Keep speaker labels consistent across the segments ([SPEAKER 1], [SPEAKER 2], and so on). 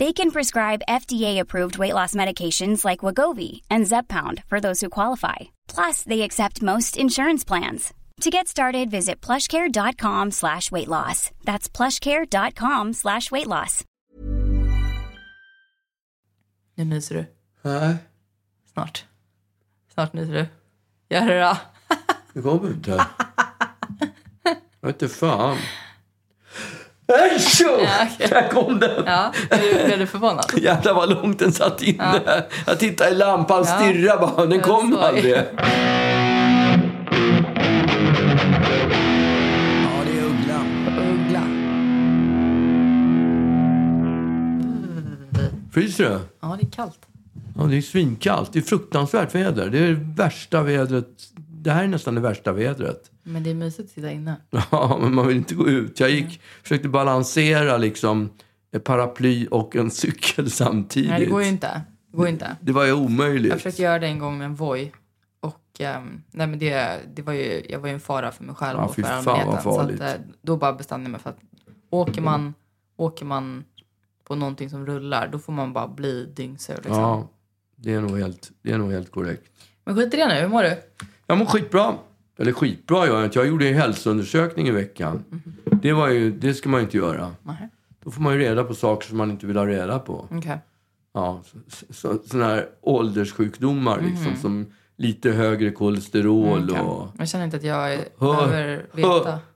[SPEAKER 1] They can prescribe FDA-approved weight loss medications like Wagovi and Zepbound for those who qualify. Plus, they accept most insurance plans. To get started, visit plushcare.com slash weight loss. That's plushcare.com slash weight loss.
[SPEAKER 2] Nu myser du.
[SPEAKER 3] Nej,
[SPEAKER 2] Snart. Snart myser du. Gör det då.
[SPEAKER 3] det kommer inte. Vete fan. Äsch! Där kom den!
[SPEAKER 2] Ja, blev du- blev du förvånad?
[SPEAKER 3] Jävlar vad långt den satt inne. Jag tittade i lampan, stirrade bara. Den kom
[SPEAKER 2] såg.
[SPEAKER 3] aldrig. Ja, det är Ugglan.
[SPEAKER 2] Uggla.
[SPEAKER 3] Fryser du?
[SPEAKER 2] Ja, det är kallt.
[SPEAKER 3] Ja, det är svinkallt. Det är fruktansvärt väder. Det är det värsta vädret. Det här är nästan det värsta vädret.
[SPEAKER 2] Men det är mysigt att sitta inne.
[SPEAKER 3] Ja, men man vill inte gå ut. Jag gick, försökte balansera liksom ett paraply och en cykel samtidigt.
[SPEAKER 2] Nej, det går ju inte. Det går ju inte.
[SPEAKER 3] Det var ju omöjligt.
[SPEAKER 2] Jag försökte göra det en gång med en Voi. Och ehm, nej, men det, det var ju, jag var ju en fara för mig själv
[SPEAKER 3] Ja,
[SPEAKER 2] och
[SPEAKER 3] fy
[SPEAKER 2] för
[SPEAKER 3] fan,
[SPEAKER 2] allmänheten.
[SPEAKER 3] vad
[SPEAKER 2] Så att,
[SPEAKER 3] farligt.
[SPEAKER 2] eh, då bara bestämde jag mig för att åker man, åker man på någonting som rullar, då får man bara bli dyngsur. Liksom.
[SPEAKER 3] Ja, det är, nog helt, det är nog helt korrekt.
[SPEAKER 2] Men skit i det nu, hur mår du?
[SPEAKER 3] Jag mår skitbra. Eller skitbra gör jag inte. Jag gjorde en hälsoundersökning i veckan. Det, var ju, det ska man ju inte göra.
[SPEAKER 2] Nej.
[SPEAKER 3] Då får man ju reda på saker som man inte vill ha reda på.
[SPEAKER 2] Okej.
[SPEAKER 3] Ja, så, så, sådana här ålderssjukdomar
[SPEAKER 2] Mm.
[SPEAKER 3] liksom, som lite högre kolesterol
[SPEAKER 2] okej.
[SPEAKER 3] och...
[SPEAKER 2] Jag känner inte att jag är-
[SPEAKER 3] Hör,
[SPEAKER 2] Mm, behöver veta.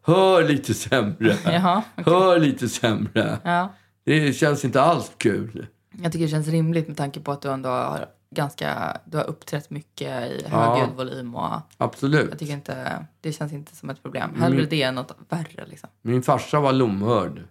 [SPEAKER 3] hör, hör lite sämre.
[SPEAKER 2] Jaha.
[SPEAKER 3] Hör lite sämre.
[SPEAKER 2] Ja.
[SPEAKER 3] Det känns inte alls kul.
[SPEAKER 2] Jag tycker det känns rimligt med tanke på att du ändå har ganska, du har uppträtt mycket i
[SPEAKER 3] Ja.
[SPEAKER 2] högljudd volym och jag
[SPEAKER 3] Absolut.
[SPEAKER 2] tycker inte, det känns inte som ett problem. Hellre det än något värre liksom.
[SPEAKER 3] Min farsa var lomhörd.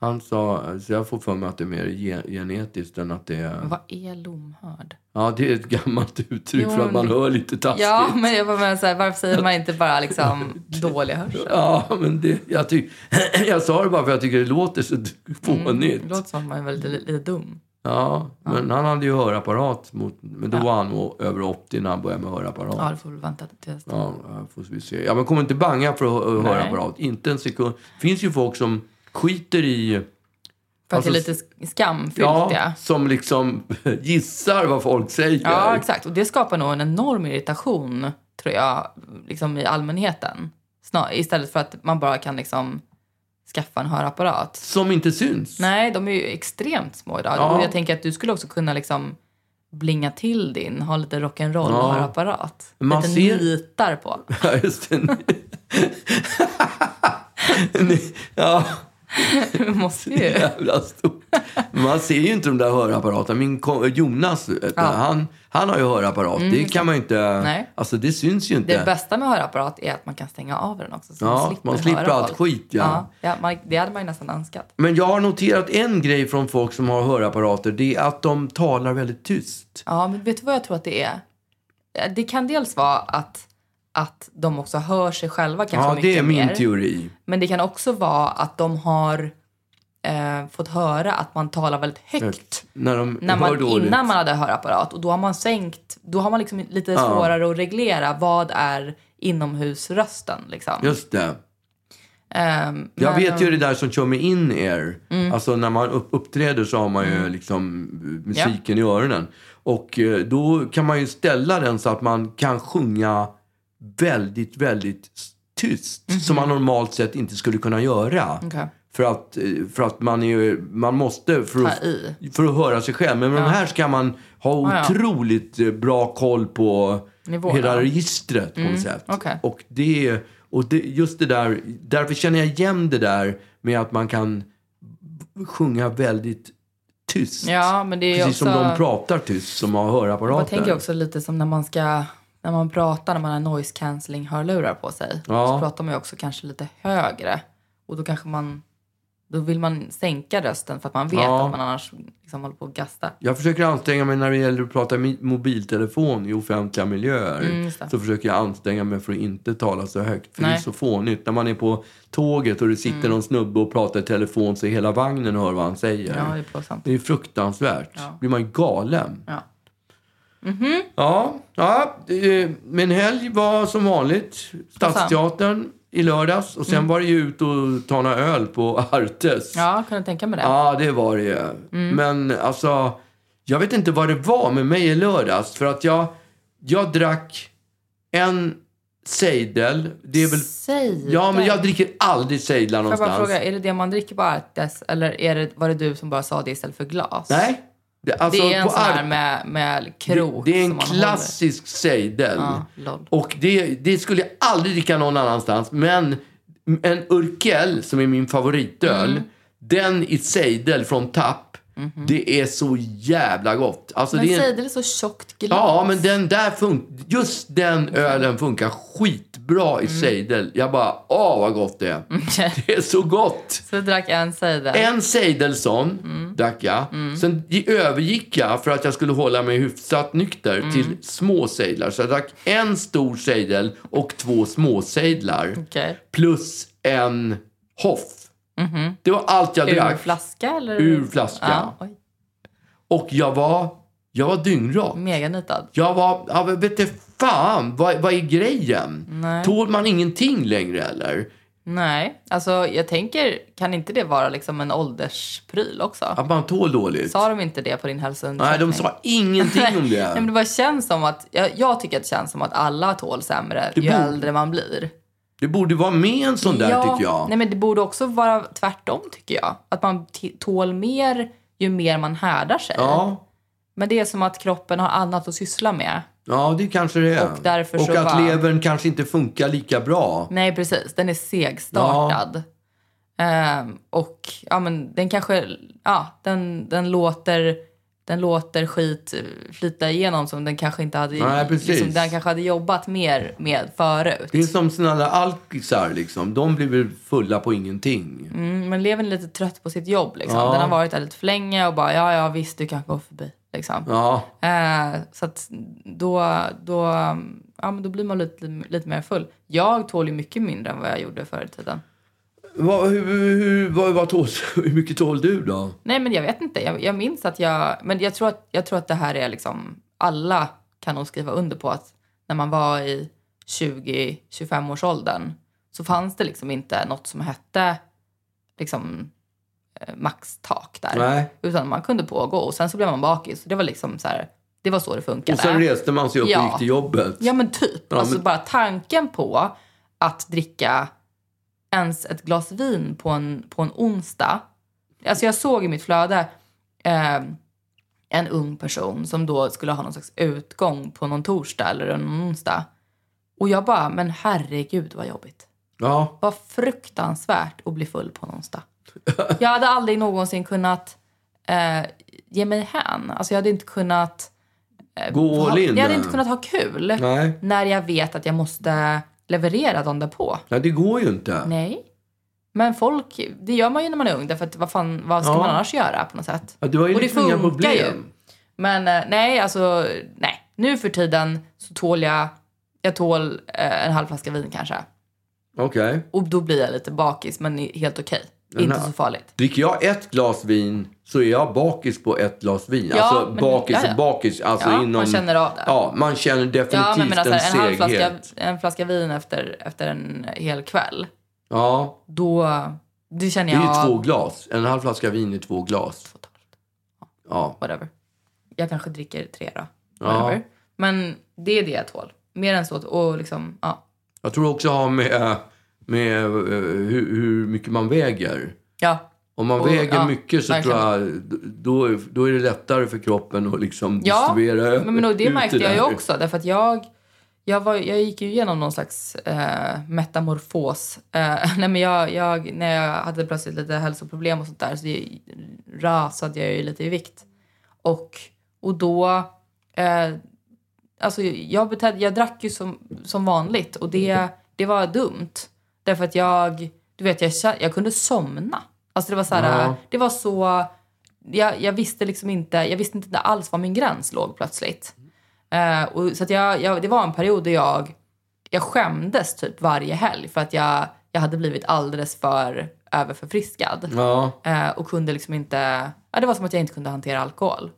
[SPEAKER 3] Han sa, så jag får för mig att det är mer gen- genetiskt än att det
[SPEAKER 2] Men
[SPEAKER 3] är...
[SPEAKER 2] vad är lomhörd?
[SPEAKER 3] Ja, det är ett gammalt uttryck
[SPEAKER 2] Jo,
[SPEAKER 3] för att
[SPEAKER 2] men
[SPEAKER 3] man
[SPEAKER 2] det-
[SPEAKER 3] hör lite taskigt.
[SPEAKER 2] Ja, men jag bara menar så här, varför säger man inte bara liksom dålig hörsel?
[SPEAKER 3] Ja, men det, jag, ty, jag sa det bara för jag tycker det låter så fånigt.
[SPEAKER 2] Det Mm, låter som att man är väldigt lite dum.
[SPEAKER 3] Ja, men han hade ju hörapparat. Mot, men då var han nog över 80 när han började med hörapparat.
[SPEAKER 2] Ja, du får väl vänta till nästa.
[SPEAKER 3] Ja, ja, får vi se. Ja, men kom inte banga för att hö-
[SPEAKER 2] Nej.
[SPEAKER 3] hörapparat. Inte en sekund. finns ju folk som skiter i...
[SPEAKER 2] För att det är
[SPEAKER 3] Alltså,
[SPEAKER 2] lite sk- skamfyllt ja.
[SPEAKER 3] Ja, som liksom gissar vad folk säger.
[SPEAKER 2] Ja, exakt. Och det skapar nog en enorm irritation, tror jag, liksom i allmänheten. Snar, istället för att man bara kan liksom skaffa en hörapparat.
[SPEAKER 3] Som inte syns.
[SPEAKER 2] Nej, de är ju extremt små idag.
[SPEAKER 3] Ja.
[SPEAKER 2] Och jag tänker att du skulle också kunna liksom blinga till din, ha lite rock'n'roll
[SPEAKER 3] Ja.
[SPEAKER 2] hörapparat.
[SPEAKER 3] Men man
[SPEAKER 2] lite
[SPEAKER 3] ser-
[SPEAKER 2] nitar på.
[SPEAKER 3] Ja, just det. Ni- ja,
[SPEAKER 2] Du måste ju.
[SPEAKER 3] jävla stort. Man ser ju inte de där hörapparaterna. Min ko- Jonas, vet du, han, han har ju hörapparat. det kan man ju inte...
[SPEAKER 2] Mm, Nej.
[SPEAKER 3] Alltså, det syns ju inte.
[SPEAKER 2] Det bästa med hörapparat är att man kan stänga av den också. Så
[SPEAKER 3] Ja,
[SPEAKER 2] man slipper,
[SPEAKER 3] man slipper
[SPEAKER 2] höra
[SPEAKER 3] allt
[SPEAKER 2] folk.
[SPEAKER 3] skit, ja.
[SPEAKER 2] ja man, det hade man ju nästan önskat.
[SPEAKER 3] Men jag har noterat en grej från folk som har hörapparater. Det är att de talar väldigt tyst.
[SPEAKER 2] Ja, men vet du vad jag tror att det är? Eh, Det kan dels vara att, att de också hör sig själva kanske
[SPEAKER 3] Ja,
[SPEAKER 2] mycket
[SPEAKER 3] det är min
[SPEAKER 2] mer.
[SPEAKER 3] teori.
[SPEAKER 2] Men det kan också vara att de har eh, fått höra att man talar väldigt högt.
[SPEAKER 3] När de
[SPEAKER 2] När
[SPEAKER 3] hör
[SPEAKER 2] man,
[SPEAKER 3] dåligt.
[SPEAKER 2] innan man hade hörapparat och då har man sänkt, då har man liksom lite svårare att reglera vad är inomhusrösten liksom.
[SPEAKER 3] Just det.
[SPEAKER 2] Ehm, men-
[SPEAKER 3] Jag
[SPEAKER 2] Mm.
[SPEAKER 3] vet ju det där som kör med in-air. Alltså när man upp, uppträder så har man ju liksom eh, musiken i öronen. Och eh, då kan man ju ställa den så att man kan sjunga väldigt, väldigt s- tyst. Som man normalt sett inte skulle kunna göra.
[SPEAKER 2] Mhm. Okej.
[SPEAKER 3] För att, eh, för att man, är, ju- man måste för att,
[SPEAKER 2] Ta i.
[SPEAKER 3] för att höra sig själv. Men med de här ska man ha
[SPEAKER 2] ja.
[SPEAKER 3] otroligt eh, bra koll på
[SPEAKER 2] Nivåerna.
[SPEAKER 3] hela registret på något sätt.
[SPEAKER 2] Mm, okej.
[SPEAKER 3] Och, det, och det, just det där, därför känner jag igen det där med att man kan sjunga väldigt tyst.
[SPEAKER 2] Ja, men det är ju
[SPEAKER 3] Precis
[SPEAKER 2] också...
[SPEAKER 3] som de pratar tyst som har
[SPEAKER 2] Man
[SPEAKER 3] hörapparater.
[SPEAKER 2] tänker också lite som när man ska... När man pratar, när man har noise cancelling hörlurar på sig.
[SPEAKER 3] Ja.
[SPEAKER 2] Så pratar man ju också kanske lite högre. Och då kanske man... Då vill man sänka rösten för att man vet
[SPEAKER 3] Ja.
[SPEAKER 2] att man annars liksom håller på att gasta.
[SPEAKER 3] Jag försöker anstränga mig när det gäller att prata i mobiltelefon i offentliga miljöer.
[SPEAKER 2] Mm, just det.
[SPEAKER 3] så försöker jag anstränga mig för att inte tala så högt. För det är
[SPEAKER 2] Nej. Mm.
[SPEAKER 3] så fånigt. När man är på tåget och det sitter någon snubbe och pratar i telefon så hela vagnen hör vad han säger.
[SPEAKER 2] Ja, det är plågsamt.
[SPEAKER 3] Det är fruktansvärt.
[SPEAKER 2] Ja.
[SPEAKER 3] blir man galen.
[SPEAKER 2] Ja.
[SPEAKER 3] Ja, ja eh, min helg var som vanligt Stadsteatern i lördags. Och sen var det ju ut och ta några öl på Artes.
[SPEAKER 2] Mm. Ja, Mm. kunde tänka mig det.
[SPEAKER 3] Ja, det var det ju. Men alltså, jag vet inte vad det var med mig i lördags. För att jag, jag drack en sejdel. Det är väl...
[SPEAKER 2] Säg
[SPEAKER 3] Ja, men
[SPEAKER 2] det.
[SPEAKER 3] jag dricker aldrig sejdlar
[SPEAKER 2] Får jag bara
[SPEAKER 3] någonstans.
[SPEAKER 2] fråga, är det det man dricker på Artes eller är det, var det du som bara sa det istället för glas?
[SPEAKER 3] Nej. Det, alltså,
[SPEAKER 2] det är en
[SPEAKER 3] på
[SPEAKER 2] sån här
[SPEAKER 3] Ar-
[SPEAKER 2] med, med
[SPEAKER 3] det,
[SPEAKER 2] krok
[SPEAKER 3] det är en
[SPEAKER 2] som man
[SPEAKER 3] klassisk sejdel.
[SPEAKER 2] håller. Ja, lol.
[SPEAKER 3] Och det, det skulle jag aldrig dricka någon annanstans. Men en Urkel, som är min favoritöl, den i sejdel från Tapp, det är så jävla gott. Alltså,
[SPEAKER 2] Men
[SPEAKER 3] det är en-
[SPEAKER 2] säg det är så tjockt glas.
[SPEAKER 3] Ja, men den där funkar. Just den ölen funkar skitbra i sejdel. Jag bara, åh vad gott det är. Det är så gott.
[SPEAKER 2] Så du drack en cider.
[SPEAKER 3] En sejdelson
[SPEAKER 2] Mm.
[SPEAKER 3] drack jag. Sen gi- övergick jag, för att jag skulle hålla mig hyfsat nykter,
[SPEAKER 2] Mm.
[SPEAKER 3] till små sejdlar. Så jag drack en stor sejdel och två små sejdlar.
[SPEAKER 2] Okej.
[SPEAKER 3] Plus en hoff.
[SPEAKER 2] Mm-hmm.
[SPEAKER 3] Det var allt jag
[SPEAKER 2] Ur
[SPEAKER 3] drack.
[SPEAKER 2] flaska eller?
[SPEAKER 3] Ur flaska.
[SPEAKER 2] Ja, oj.
[SPEAKER 3] Och jag var, jag var dyngrak.
[SPEAKER 2] Meganitad.
[SPEAKER 3] Jag var, ja, men vet du fan, vad, vad är grejen? Tål man ingenting längre eller?
[SPEAKER 2] Nej, alltså jag tänker, kan inte det vara liksom en ålderspryl också?
[SPEAKER 3] Att man tål dåligt?
[SPEAKER 2] Sa de inte det på din hälsoundersökning?
[SPEAKER 3] Nej, de sa ingenting om
[SPEAKER 2] Nej, men
[SPEAKER 3] det.
[SPEAKER 2] det bara känns som att, jag, jag tycker att det känns som att alla tål sämre ju
[SPEAKER 3] borde-
[SPEAKER 2] äldre man blir.
[SPEAKER 3] Det borde vara med en sån där
[SPEAKER 2] ja,
[SPEAKER 3] tycker jag.
[SPEAKER 2] Nej, men det borde också vara tvärtom tycker jag. Att man t- tål mer ju mer man härdar sig.
[SPEAKER 3] Ja,
[SPEAKER 2] Men det är som att kroppen har annat att syssla med.
[SPEAKER 3] ja, det kanske det är.
[SPEAKER 2] Och därför så
[SPEAKER 3] att
[SPEAKER 2] var-
[SPEAKER 3] levern kanske inte funkar lika bra.
[SPEAKER 2] Nej, precis. Den är segstartad. Ehm, och ja, men den kanske... Ja, den, den, låter, den låter skit eh, flyta igenom som den kanske inte hade...
[SPEAKER 3] Nej, precis.
[SPEAKER 2] Liksom, den kanske hade jobbat mer med förut.
[SPEAKER 3] Det är som såna där alkisar liksom. De blir väl fulla på ingenting.
[SPEAKER 2] Mm, men levern är lite trött på sitt jobb. Liksom.
[SPEAKER 3] Ja.
[SPEAKER 2] Den har varit där lite för länge och bara ja, ja visst du kan gå förbi. Liksom.
[SPEAKER 3] Ja,
[SPEAKER 2] Eh, så att då, då, ja, men då blir man lite, lite mer full. Jag tål ju mycket mindre än vad jag gjorde förr i tiden.
[SPEAKER 3] vad, hur, hur, vad, vad tål, hur mycket tål du då?
[SPEAKER 2] Nej men jag vet inte. Jag, jag minns att jag... Men jag tror att, jag tror att det här är liksom... Alla kan nog skriva under på att när man var i 20-25 års åldern så fanns det liksom inte något som hette liksom eh, maxtak där.
[SPEAKER 3] Nej.
[SPEAKER 2] Utan man kunde pågå och sen så blev man bakis. Det var liksom så här, det var så det funkade.
[SPEAKER 3] Och sen reste man sig upp
[SPEAKER 2] Ja.
[SPEAKER 3] och gick till jobbet.
[SPEAKER 2] Ja men typ.
[SPEAKER 3] Ja,
[SPEAKER 2] alltså
[SPEAKER 3] men-
[SPEAKER 2] bara tanken på att dricka ens ett glas vin på en, på en onsdag. Alltså jag såg i mitt flöde eh, en ung person som då skulle ha någon slags utgång på någon torsdag eller en onsdag. Och jag bara, men herregud vad jobbigt.
[SPEAKER 3] ja.
[SPEAKER 2] Vad fruktansvärt att bli full på en onsdag. Jag hade aldrig någonsin kunnat eh, ge mig hän. Alltså jag hade inte kunnat
[SPEAKER 3] Gå all in.
[SPEAKER 2] jag hade
[SPEAKER 3] där.
[SPEAKER 2] inte kunnat ha kul
[SPEAKER 3] Nej.
[SPEAKER 2] när jag vet att jag måste leverera dagen därpå.
[SPEAKER 3] Nej, det går ju inte.
[SPEAKER 2] Nej. Men folk, det gör man ju när man är ung. Därför att vad fan, vad ska
[SPEAKER 3] Ja.
[SPEAKER 2] man annars göra på något sätt?
[SPEAKER 3] Ja, du har ju
[SPEAKER 2] Och det
[SPEAKER 3] liksom inga
[SPEAKER 2] funkar
[SPEAKER 3] problem.
[SPEAKER 2] ju. Men eh, nej, alltså nej. Nu för tiden så tål jag, jag tål eh, en halv flaska vin kanske.
[SPEAKER 3] Okej.
[SPEAKER 2] Och då blir jag lite bakis, men i- helt okej. Inte
[SPEAKER 3] här-
[SPEAKER 2] så farligt.
[SPEAKER 3] Dricker jag ett glas vin så är jag bakis på ett glas vin.
[SPEAKER 2] Ja,
[SPEAKER 3] alltså
[SPEAKER 2] men-
[SPEAKER 3] bakis
[SPEAKER 2] ja, ja.
[SPEAKER 3] och bakis. Alltså
[SPEAKER 2] Ja, man
[SPEAKER 3] inom,
[SPEAKER 2] känner av det.
[SPEAKER 3] Ja, man känner definitivt
[SPEAKER 2] Ja, men, men alltså,
[SPEAKER 3] en
[SPEAKER 2] en, halv
[SPEAKER 3] seghet.
[SPEAKER 2] flaska, en flaska vin efter, efter en hel kväll.
[SPEAKER 3] Ja,
[SPEAKER 2] Då, det känner
[SPEAKER 3] det är
[SPEAKER 2] jag...
[SPEAKER 3] ju två glas. En halv flaska vin är två glas. Ja,
[SPEAKER 2] whatever. Jag kanske dricker tre då.
[SPEAKER 3] Ja.
[SPEAKER 2] Whatever. Men det är det jag tål. Mer än så. Och liksom, ja.
[SPEAKER 3] jag tror också ha med, med eh, hur, hur mycket man väger.
[SPEAKER 2] Ja.
[SPEAKER 3] Om man
[SPEAKER 2] Och,
[SPEAKER 3] väger
[SPEAKER 2] ja,
[SPEAKER 3] mycket så tror
[SPEAKER 2] verkligen.
[SPEAKER 3] jag, då, då är det lättare för kroppen att liksom
[SPEAKER 2] ja.
[SPEAKER 3] distribuera
[SPEAKER 2] Men, men och det
[SPEAKER 3] ut
[SPEAKER 2] märkte jag ju
[SPEAKER 3] där.
[SPEAKER 2] också. Därför att jag, Jag, var, jag gick ju igenom någon slags eh, metamorfos. Eh, nej, men jag, jag, när jag hade plötsligt lite hälsoproblem och sånt där så det, rasade jag ju lite i vikt. Och, och då... Eh, alltså jag, betedde, jag drack ju som, som vanligt och det, det var dumt. Därför att jag, du vet, jag, kä- jag kunde somna. Alltså det var så här,
[SPEAKER 3] Ja.
[SPEAKER 2] det var så... Jag, jag visste liksom inte, jag visste inte alls var min gräns låg plötsligt. Eh, och, så att jag, jag, det var en period där jag, jag skämdes typ varje helg för att jag, jag hade blivit alldeles för överförfriskad.
[SPEAKER 3] Ja.
[SPEAKER 2] Eh, och kunde liksom inte... Ja, det var som att jag inte kunde hantera alkohol.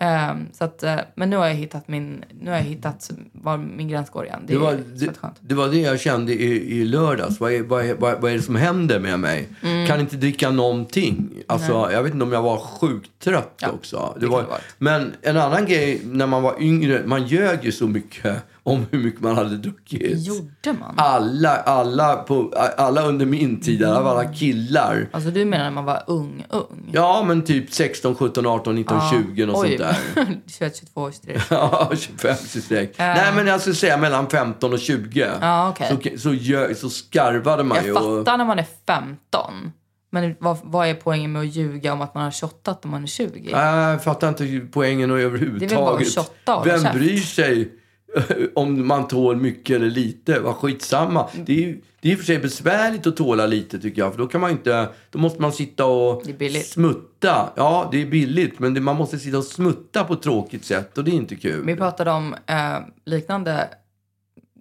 [SPEAKER 2] Ehm, så att, eh, men nu har jag hittat min... Nu har jag hittat var min gräns går igen. Det,
[SPEAKER 3] Det var,
[SPEAKER 2] är det...
[SPEAKER 3] det,
[SPEAKER 2] skönt.
[SPEAKER 3] det var det jag kände i, i lördags. Vad är, vad, är, vad, är, vad är det som händer med mig?
[SPEAKER 2] Mm.
[SPEAKER 3] Kan inte dricka någonting. Alltså, jag vet inte om jag var sjukt trött också. Det var,
[SPEAKER 2] kan det ha varit.
[SPEAKER 3] men en annan grej, när man var yngre, man ljög ju så mycket om hur mycket man hade druckit.
[SPEAKER 2] Gjorde man?
[SPEAKER 3] Alla, alla, på, alla under min tid, alla, alla killar.
[SPEAKER 2] Alltså du menar när man var ung, ung?
[SPEAKER 3] Ja, men typ 16, 17, 18, 19, 20 och sånt där.
[SPEAKER 2] 21, 22, 23.
[SPEAKER 3] Ja, 25 streck. Nej, men jag skulle säga mellan 15 och 20.
[SPEAKER 2] Ja, okej.
[SPEAKER 3] så, så, gö- så skarvade man
[SPEAKER 2] Jag
[SPEAKER 3] ju. och-
[SPEAKER 2] fattar när man är 15. Men vad, vad är poängen med att ljuga om att man har shottat när man är 20?
[SPEAKER 3] Nej, jag fattar inte poängen och
[SPEAKER 2] Det är väl bara att
[SPEAKER 3] överhuvudtaget.
[SPEAKER 2] shotta och
[SPEAKER 3] Vem
[SPEAKER 2] käft.
[SPEAKER 3] bryr sig om man tål mycket eller lite? Vad skitsamma.
[SPEAKER 2] Mm.
[SPEAKER 3] Det är, ju- det är i och för sig besvärligt att tåla lite tycker jag. För då kan man inte... Då måste man sitta och
[SPEAKER 2] Det är billigt.
[SPEAKER 3] smutta. Ja, det är billigt. Men det, man måste sitta och smutta på ett tråkigt sätt och det är inte kul.
[SPEAKER 2] Vi pratade om eh, liknande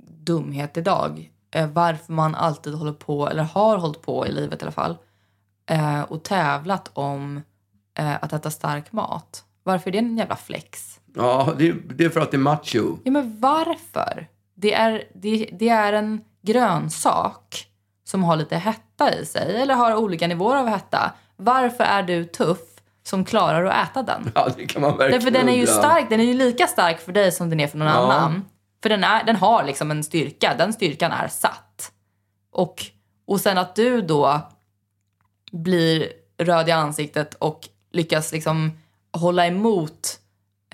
[SPEAKER 2] dumhet idag. Eh, varför man alltid håller på, eller har hållit på i livet i alla fall, eh, och tävlat om eh, att äta stark mat. Varför är det en jävla flex?
[SPEAKER 3] Ja, det, det är för att det är macho.
[SPEAKER 2] Ja, men varför? Det är, det, det är en grönsak som har lite hetta i sig, eller har olika nivåer av hetta. Varför är du tuff som klarar att äta den?
[SPEAKER 3] Ja, det kan man verkligen
[SPEAKER 2] Därför den är ju
[SPEAKER 3] undra.
[SPEAKER 2] stark, den är ju lika stark för dig som den är för någon annan. För den, är, den har liksom en styrka, den styrkan är satt. Och, och sen att du då blir röd i ansiktet och lyckas liksom hålla emot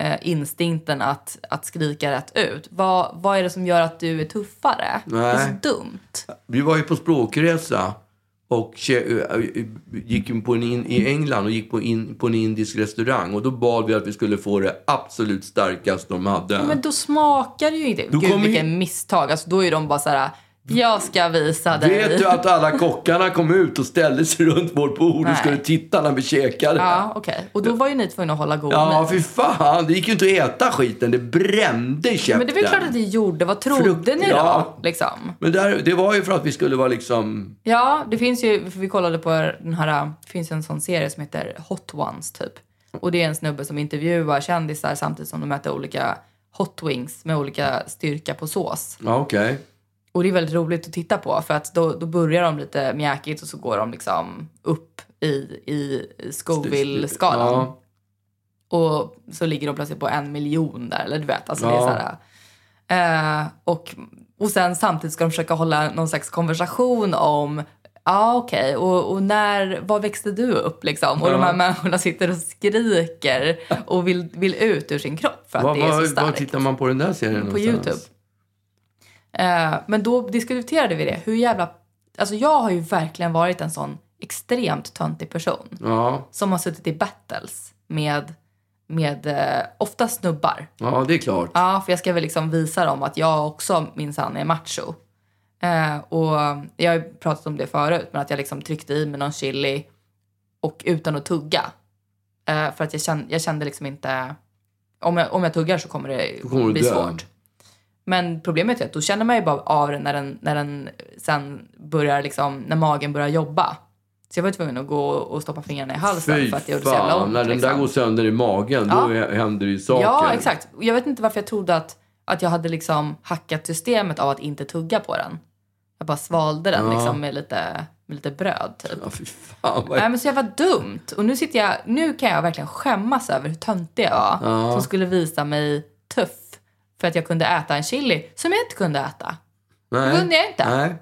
[SPEAKER 2] eh, instinkten att, att skrika rätt ut. Vad, vad är det som gör att du är tuffare? Det är
[SPEAKER 3] Nej.
[SPEAKER 2] så dumt.
[SPEAKER 3] Vi var ju på språkresa och ke- äh, gick in på en in, i England och gick på, in, på en indisk restaurang. Och då bad vi att vi skulle få det absolut starkaste de hade.
[SPEAKER 2] Men då smakar det ju inte. Gud
[SPEAKER 3] kommer ju-
[SPEAKER 2] vilket misstag. Alltså, då är de bara så här, jag ska visa dig.
[SPEAKER 3] Vet du att alla kockarna kom ut och ställde sig runt vårt bord
[SPEAKER 2] Nej.
[SPEAKER 3] och skulle titta när vi käkade?
[SPEAKER 2] Ja, okej. Och då var ju ni tvungna att hålla god
[SPEAKER 3] Ja,
[SPEAKER 2] min.
[SPEAKER 3] fy fan. Det gick ju inte att äta skiten. Det brände i käften.
[SPEAKER 2] Men det var ju klart att ni gjorde. Vad trodde
[SPEAKER 3] Frukt-
[SPEAKER 2] ni då?
[SPEAKER 3] ja.
[SPEAKER 2] Liksom?
[SPEAKER 3] Men där, det var ju för att vi skulle vara liksom...
[SPEAKER 2] Ja, det finns ju, för vi kollade på den här, det finns ju en sån serie som heter Hot Ones typ. Och det är en snubbe som intervjuar kändisar samtidigt som de äter olika hot wings med olika styrka på sås.
[SPEAKER 3] Ja, okej.
[SPEAKER 2] Och det är väldigt roligt att titta på för att då, då börjar de lite mjäkigt och så går de liksom upp i, i Scoville-skalan.
[SPEAKER 3] Ja.
[SPEAKER 2] Och så ligger de plötsligt på en miljon där. Eller du vet, alltså det är
[SPEAKER 3] Ja.
[SPEAKER 2] så här, eh, och, och sen samtidigt ska de försöka hålla någon slags konversation om Ja ah, okej, och, och när, var växte du upp liksom? Och de här människorna sitter och skriker och vill, vill ut ur sin kropp för att
[SPEAKER 3] Var,
[SPEAKER 2] det är så
[SPEAKER 3] var, var
[SPEAKER 2] starkt.
[SPEAKER 3] tittar man på den där serien
[SPEAKER 2] på
[SPEAKER 3] någonstans?
[SPEAKER 2] Youtube. Eh, men då diskuterade vi det. Hur jävla... Alltså jag har ju verkligen varit en sån extremt töntig person
[SPEAKER 3] Ja,
[SPEAKER 2] som har suttit i battles med, med eh, ofta snubbar.
[SPEAKER 3] ja, det är klart.
[SPEAKER 2] Ja, för jag ska väl liksom visa dem att jag också minsann är macho. Eh, och jag har ju pratat om det förut, men att jag liksom tryckte i mig någon chili och utan att tugga. Eh, för att jag kände, jag kände liksom inte... Om jag, om jag tuggar så kommer det
[SPEAKER 3] Då kommer du
[SPEAKER 2] bli
[SPEAKER 3] dö.
[SPEAKER 2] svårt. Men problemet är att då känner man ju bara av den när den, när den sen börjar liksom, när magen börjar jobba. Så jag var tvungen att gå och stoppa fingrarna i halsen
[SPEAKER 3] Fy
[SPEAKER 2] för att det gjorde så jävla
[SPEAKER 3] fan,
[SPEAKER 2] ont.
[SPEAKER 3] när den
[SPEAKER 2] liksom.
[SPEAKER 3] där går sönder i magen, då
[SPEAKER 2] Ja.
[SPEAKER 3] är- händer det ju saker.
[SPEAKER 2] Ja, exakt. Och Jag vet inte varför jag trodde att, att jag hade liksom hackat systemet av att inte tugga på den. Jag bara svalde den liksom med lite, med lite bröd typ.
[SPEAKER 3] Ja, fy fan vad...
[SPEAKER 2] Nej men så jävla dumt. Och nu sitter jag, nu kan jag verkligen skämmas över hur töntig jag var. Som skulle visa mig tuff. För att jag kunde äta en chili som jag inte kunde äta.
[SPEAKER 3] Nej.
[SPEAKER 2] kunde jag inte.
[SPEAKER 3] Nej.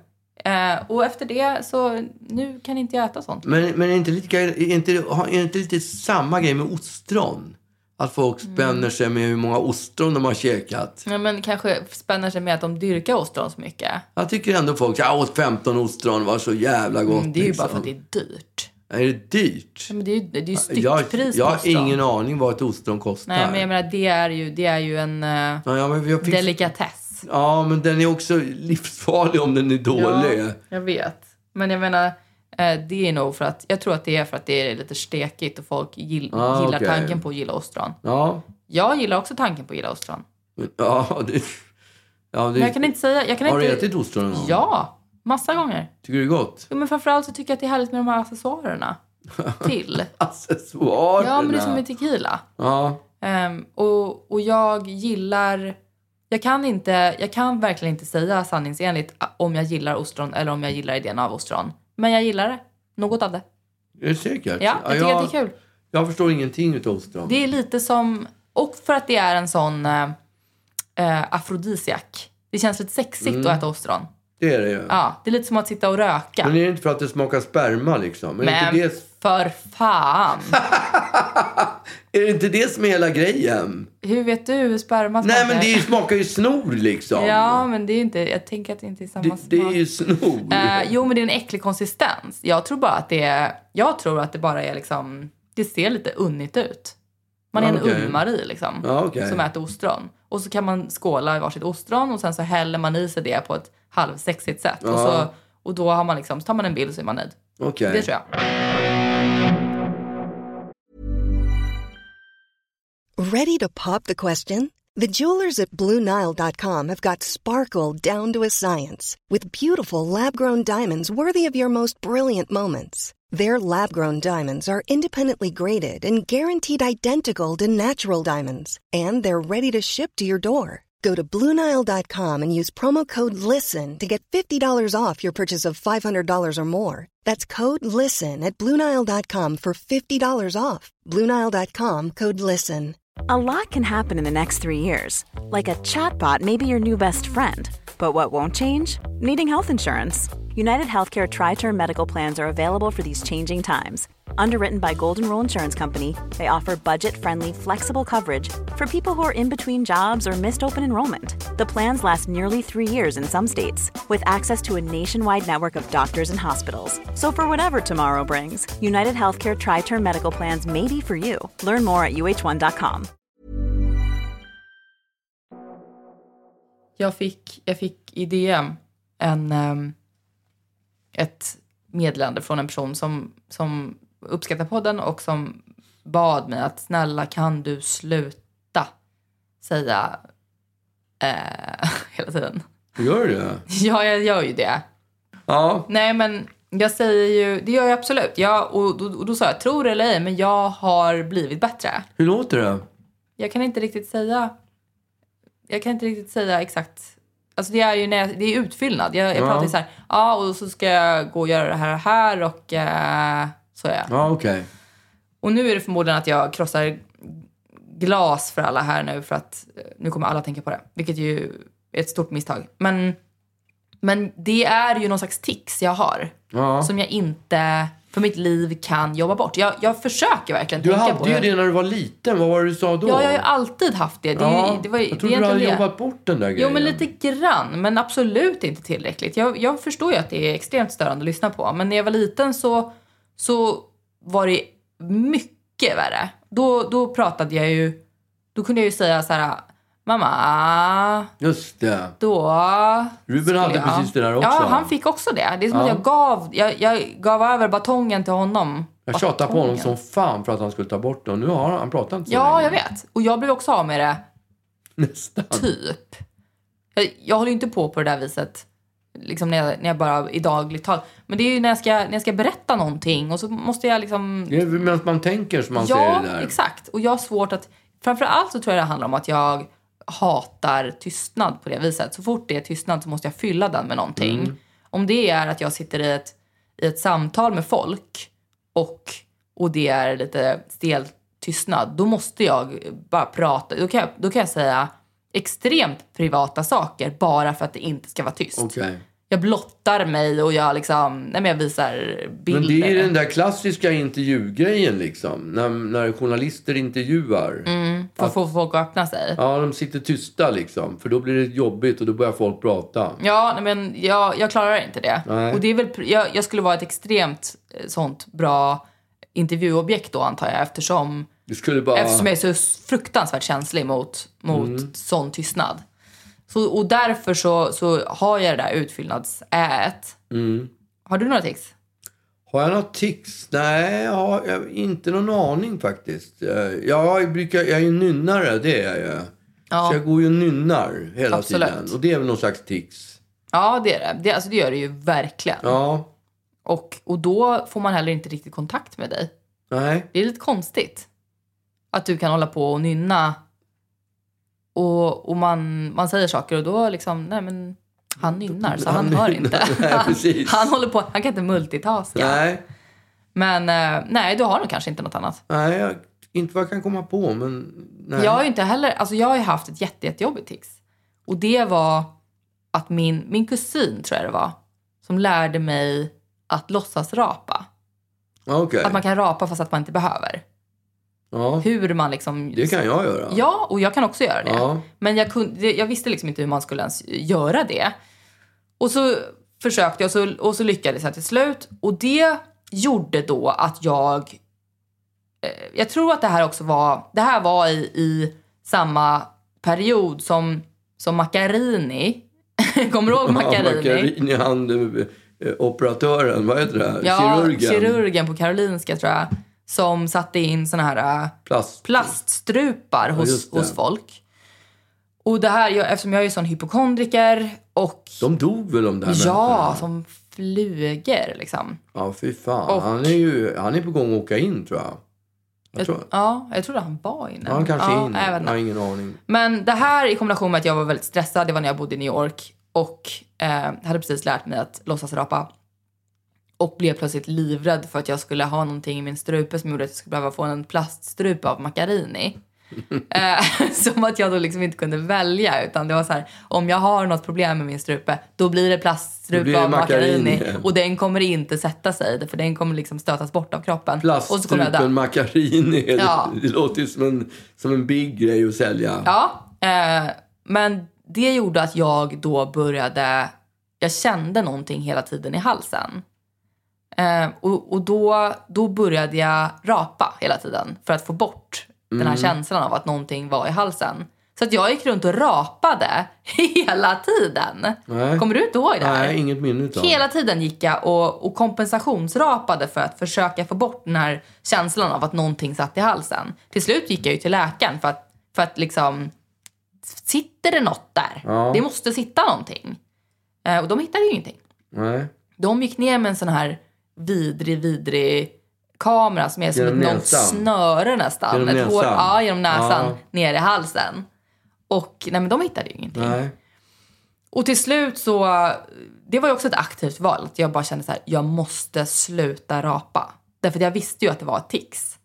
[SPEAKER 2] Eh, och efter det så, nu kan inte jag äta sånt.
[SPEAKER 3] Men, men är, inte lite, är, inte, har- är inte lite samma grej med ostron? Att folk
[SPEAKER 2] Mm.
[SPEAKER 3] spänner sig med hur många ostron de har käkat.
[SPEAKER 2] Ja, men kanske spänner sig med att de dyrkar ostron så mycket.
[SPEAKER 3] Jag tycker ändå folk säger jag åt 15 ostron, var så jävla gott.
[SPEAKER 2] Men Mm, det är ju bara
[SPEAKER 3] liksom.
[SPEAKER 2] för att det är dyrt.
[SPEAKER 3] Är det dyrt?
[SPEAKER 2] Ja, Men det är ju, det är ju
[SPEAKER 3] Jag,
[SPEAKER 2] styckpris
[SPEAKER 3] jag
[SPEAKER 2] på
[SPEAKER 3] har
[SPEAKER 2] ostron.
[SPEAKER 3] ingen aning vad ett ostron kostar.
[SPEAKER 2] Nej, men jag menar det är ju, det är ju en eh,
[SPEAKER 3] ja, men jag fick...
[SPEAKER 2] delikatess.
[SPEAKER 3] ja, men den är också livsfarlig om den är dålig.
[SPEAKER 2] jag vet. Men jag menar, eh, det är nog för att, jag tror att det är för att det är lite stekigt och folk gill,
[SPEAKER 3] Ah,
[SPEAKER 2] gillar
[SPEAKER 3] okej.
[SPEAKER 2] tanken på att gilla ostron.
[SPEAKER 3] Ja,
[SPEAKER 2] Jag gillar också tanken på att gilla ostron.
[SPEAKER 3] ja, det... Ja, det...
[SPEAKER 2] Men jag kan inte säga, jag kan
[SPEAKER 3] Har du
[SPEAKER 2] inte...
[SPEAKER 3] ätit ostron någon gång?
[SPEAKER 2] Ja, massa gånger.
[SPEAKER 3] Tycker du det är gott?
[SPEAKER 2] Jo, men framförallt så tycker jag att det är härligt med de här accessoarerna till.
[SPEAKER 3] Accessoarerna.
[SPEAKER 2] Ja, men det är som med tequila.
[SPEAKER 3] Alltså, Ja,
[SPEAKER 2] Ehm, och, och jag gillar... Jag kan, inte, jag kan verkligen inte säga sanningsenligt ah, om jag gillar ostron eller om jag gillar idén av ostron. Men jag gillar det. Något av det.
[SPEAKER 3] det är säkert.
[SPEAKER 2] Ja, jag tycker att det är kul.
[SPEAKER 3] Jag förstår ingenting utav ostron.
[SPEAKER 2] Det är lite som... Och för att det är en sån eh, eh, afrodisiak. Det känns lite sexigt att äta ostron.
[SPEAKER 3] Det är det ju.
[SPEAKER 2] Ja, det är lite som att sitta och röka.
[SPEAKER 3] Mm. Men är det inte för att det smakar sperma liksom? Är,
[SPEAKER 2] Men
[SPEAKER 3] Det, inte
[SPEAKER 2] för fan!
[SPEAKER 3] det, är det inte det som är hela grejen?
[SPEAKER 2] Hur vet du hur sperma smakar?
[SPEAKER 3] Nej men det är ju- smakar ju snor liksom.
[SPEAKER 2] Ja, men det är inte... Jag tänker att det inte är samma
[SPEAKER 3] det,
[SPEAKER 2] smak.
[SPEAKER 3] det är ju snor.
[SPEAKER 2] Eh, jo, men det är en äcklig konsistens. Jag tror bara att det är... Jag tror att det bara är liksom... Det ser lite unnigt ut. Man är
[SPEAKER 3] Ja,
[SPEAKER 2] en
[SPEAKER 3] okej.
[SPEAKER 2] ullmari liksom.
[SPEAKER 3] Ja, okej.
[SPEAKER 2] Som äter ostron. Och så kan man skåla i varsitt ostron och sen så häller man i sig det på ett halvsexigt sätt. Och, så, och då har man liksom... Så tar man en bild så är man nöjd.
[SPEAKER 3] Okej.
[SPEAKER 2] Det tror jag.
[SPEAKER 4] Ready to pop the question? The jewelers at BlueNile.com have got sparkle down to a science with beautiful lab grown diamonds worthy of your most brilliant moments. Their lab grown diamonds are independently graded and guaranteed identical to natural diamonds, and they're ready to ship to your door. Go to BlueNile.com and use promo code LISTEN to get $50 off your purchase of $500 or more. That's code LISTEN at BlueNile.com for $50 off. BlueNile.com code LISTEN.
[SPEAKER 5] A lot can happen in the next three years. Like a chatbot may be your new best friend. But what won't change? Needing health insurance. United Healthcare Tri Term Medical Plans are available for these changing times. Underwritten by Golden Rule Insurance Company, they offer budget friendly, flexible coverage for people who are in between jobs or missed open enrollment. The plans last nearly three years in some states, with access to a nationwide network of doctors and hospitals. So, for whatever tomorrow brings, United Healthcare Tri Term Medical Plans may be for you. Learn more at uh1.com.
[SPEAKER 2] Jag fick, jag fick i DM en, ehm, ett meddelande från en person som, som uppskattar podden och som bad mig att snälla kan du sluta säga eh, hela tiden.
[SPEAKER 3] Gör det?
[SPEAKER 2] Ja, jag gör ju det.
[SPEAKER 3] Ja.
[SPEAKER 2] Nej, men jag säger ju, det gör jag absolut. Jag, och, och, och då sa jag, tror det eller ej, men jag har blivit bättre.
[SPEAKER 3] Hur låter det?
[SPEAKER 2] Jag kan inte riktigt säga. Jag kan inte riktigt säga exakt. Alltså det är ju när jag, det är utfyllnad. Jag, jag
[SPEAKER 3] Ja.
[SPEAKER 2] pratar ju så här, ja och så ska jag gå och göra det här och här och eh, så är jag.
[SPEAKER 3] Ja, okej.
[SPEAKER 2] Och nu är det förmodligen att jag krossar glas för alla här nu för att eh, nu kommer alla tänka på det. Vilket ju är ett stort misstag. Men, men det är ju någon slags tics jag har.
[SPEAKER 3] Ja.
[SPEAKER 2] Som jag inte för mitt liv kan jobba bort. Jag, jag försöker verkligen
[SPEAKER 3] Du
[SPEAKER 2] tänka på
[SPEAKER 3] hade ju
[SPEAKER 2] hur-
[SPEAKER 3] det när du var liten. Vad var det du sa då?
[SPEAKER 2] Ja, jag har ju alltid haft det. det, är ju-
[SPEAKER 3] Ja,
[SPEAKER 2] det var, ju-
[SPEAKER 3] jag
[SPEAKER 2] det är
[SPEAKER 3] trodde du hade
[SPEAKER 2] egentligen det.
[SPEAKER 3] jobbat bort den där grejen.
[SPEAKER 2] Jo, men lite grann. Men absolut inte tillräckligt. Jag, jag förstår ju att det är extremt störande att lyssna på. Men när jag var liten så, så var det mycket värre. Då, då pratade jag ju... Då kunde jag ju säga så här... Mamma,
[SPEAKER 3] Just det.
[SPEAKER 2] då...
[SPEAKER 3] Ruben
[SPEAKER 2] skulle
[SPEAKER 3] hade
[SPEAKER 2] jag-"
[SPEAKER 3] precis det där också.
[SPEAKER 2] Ja, han fick också det. Det är som att jag gav, jag, jag gav över batongen till honom.
[SPEAKER 3] Jag tjatade på honom
[SPEAKER 2] Batongen.
[SPEAKER 3] som fan för att han skulle ta bort den. Nu har han, han pratar inte så
[SPEAKER 2] Ja,
[SPEAKER 3] länge.
[SPEAKER 2] jag vet. Och jag blev också av med det
[SPEAKER 3] Nästan.
[SPEAKER 2] typ. Jag, jag håller ju inte på på det där viset liksom när, jag, när jag bara i dagligt tal. Men det är ju när jag, ska, när jag ska berätta någonting och så måste jag liksom...
[SPEAKER 3] Det är väl medan man tänker som man säger
[SPEAKER 2] ja,
[SPEAKER 3] det där.
[SPEAKER 2] exakt. Och jag har svårt att... Framförallt så tror jag det handlar om att jag hatar tystnad på det viset. Så fort det är tystnad så måste jag fylla den med någonting.
[SPEAKER 3] Mm.
[SPEAKER 2] Om det är att jag sitter i ett, i ett samtal med folk och, och det är lite stel tystnad, då måste jag bara prata. Då kan jag, då kan jag säga extremt privata saker bara för att det inte ska vara tyst.
[SPEAKER 3] Okej.
[SPEAKER 2] Jag blottar mig och jag liksom, nej men jag visar bilder.
[SPEAKER 3] Men det är ju den där klassiska intervjugrejen liksom. När, när journalister intervjuar.
[SPEAKER 2] För att få folk att öppna sig.
[SPEAKER 3] Ja, de sitter tysta liksom. För då blir det jobbigt och då börjar folk prata.
[SPEAKER 2] Ja, nej, men jag, jag klarar inte det.
[SPEAKER 3] Nej.
[SPEAKER 2] Och det är väl, pr- jag, jag skulle vara ett extremt eh, sånt bra intervjuobjekt då antar jag eftersom,
[SPEAKER 3] Du skulle bara...
[SPEAKER 2] eftersom jag är så s- fruktansvärt känslig mot, mot
[SPEAKER 3] Mm.
[SPEAKER 2] sån tystnad. Så, och därför så, så har jag det där utfyllnadsäet.
[SPEAKER 3] Mm.
[SPEAKER 2] Har du några tics?
[SPEAKER 3] Har jag något tics? Nej, jag har jag har inte någon aning faktiskt. Eh, Jag, brukar, jag är ju nynnare, det är jag ju.
[SPEAKER 2] Ja.
[SPEAKER 3] Så jag går ju och nynnar hela
[SPEAKER 2] Absolut.
[SPEAKER 3] tiden. Och det är väl någon slags tics.
[SPEAKER 2] Ja, det är det. Det, alltså, det gör det ju verkligen.
[SPEAKER 3] Ja,
[SPEAKER 2] Och, och då får man heller inte riktigt kontakt med dig.
[SPEAKER 3] nej.
[SPEAKER 2] Det är lite konstigt att du kan hålla på och nynna och, och man, man säger saker och då liksom, nej men han nynnar så han,
[SPEAKER 3] Han
[SPEAKER 2] hör
[SPEAKER 3] nynnar,
[SPEAKER 2] inte.
[SPEAKER 3] nej, precis.
[SPEAKER 2] han håller på, han kan inte multitaska.
[SPEAKER 3] Nej,
[SPEAKER 2] Men eh, nej, du har nog kanske inte något annat.
[SPEAKER 3] nej jag, inte vad jag kan komma på. Men, nej.
[SPEAKER 2] Jag har ju inte heller, alltså jag har ju haft ett jätte, jättejobbigt tics. Och det var att min, min kusin tror jag det var, som lärde mig att låtsas rapa.
[SPEAKER 3] Okej.
[SPEAKER 2] Att man kan rapa fast att man inte behöver.
[SPEAKER 3] Ja,
[SPEAKER 2] Hur man liksom...
[SPEAKER 3] det kan jag göra.
[SPEAKER 2] Ja, och jag kan också göra det.
[SPEAKER 3] Ja.
[SPEAKER 2] Men jag, kunde, det- jag visste liksom inte hur man skulle ens göra det. Och så försökte jag och så, och så lyckades jag till slut. Och det gjorde då att jag... eh, Jag tror att det här också var... Det här var i, i samma period som, som Macarini. Kommer du ihåg Macarini?
[SPEAKER 3] Macarini, han eh, operatören, vad heter det? Här?
[SPEAKER 2] Ja,
[SPEAKER 3] Kirurgen.
[SPEAKER 2] kirurgen på Karolinska tror jag. Som satte in såna här... eh,
[SPEAKER 3] Plast.
[SPEAKER 2] plaststrupar hos,
[SPEAKER 3] just det.
[SPEAKER 2] hos folk. Och det här, jag, eftersom jag är sån hypokondriker och
[SPEAKER 3] De dog väl de där
[SPEAKER 2] ja,
[SPEAKER 3] människorna?
[SPEAKER 2] som flugor liksom.
[SPEAKER 3] Ja, fy fan.
[SPEAKER 2] Och-
[SPEAKER 3] Han, är ju, han är på gång att åka in tror jag. Jag tror...
[SPEAKER 2] Ja, jag trodde han var inne.
[SPEAKER 3] Ja, han kanske
[SPEAKER 2] ja,
[SPEAKER 3] är in.
[SPEAKER 2] nej, jag vet
[SPEAKER 3] Jag
[SPEAKER 2] inte.
[SPEAKER 3] har ingen aning.
[SPEAKER 2] Men det här i kombination med att jag var väldigt stressad, det var när jag bodde i New York och eh, hade precis lärt mig att låtsas rapa. Och blev plötsligt livrädd för att jag skulle ha någonting i min strupe som gjorde att jag skulle behöva få en plaststrupe av Macarini. eh, som att jag då liksom inte kunde välja utan det var så här, om jag har något problem med min strupe då blir det plaststrupe
[SPEAKER 3] Då blir det
[SPEAKER 2] av Macarini.
[SPEAKER 3] Macarini.
[SPEAKER 2] Och den kommer inte sätta sig för den kommer liksom stötas bort av kroppen. och så kommer jag dö.
[SPEAKER 3] Plaststrupen Macarini. det-
[SPEAKER 2] Ja.
[SPEAKER 3] Det låter ju som en, som en big grej att sälja.
[SPEAKER 2] Ja, eh, men det gjorde att jag då började... Jag kände någonting hela tiden i halsen. Eh, och och då, då började jag rapa hela tiden för att få bort den
[SPEAKER 3] Mm.
[SPEAKER 2] här känslan av att någonting var i halsen. Så att jag gick runt och rapade hela tiden.
[SPEAKER 3] Nej.
[SPEAKER 2] Kommer du inte ihåg det här?
[SPEAKER 3] Nej, inget minne utav det.
[SPEAKER 2] Hela tiden gick jag och, och kompensationsrapade för att försöka få bort den här känslan av att någonting satt i halsen. Till slut gick jag ju till läkaren för att, för att liksom... Sitter det något där?
[SPEAKER 3] Ja.
[SPEAKER 2] Det måste sitta någonting. Eh, och de hittade ju ingenting.
[SPEAKER 3] Nej.
[SPEAKER 2] De gick ner med en sån här vidrig, vidrig kamera som är som
[SPEAKER 3] Genom
[SPEAKER 2] ett långt
[SPEAKER 3] näsan.
[SPEAKER 2] snöre nästan.
[SPEAKER 3] Genom
[SPEAKER 2] ett Hår,
[SPEAKER 3] näsan.
[SPEAKER 2] ja, genom näsan.
[SPEAKER 3] Ja.
[SPEAKER 2] Ner i halsen. Och nej men de hittade ju ingenting.
[SPEAKER 3] Nej.
[SPEAKER 2] Och till slut så, det var ju också ett aktivt val. Att jag bara kände så här, jag måste sluta rapa. Därför att jag visste ju att det var ett tics.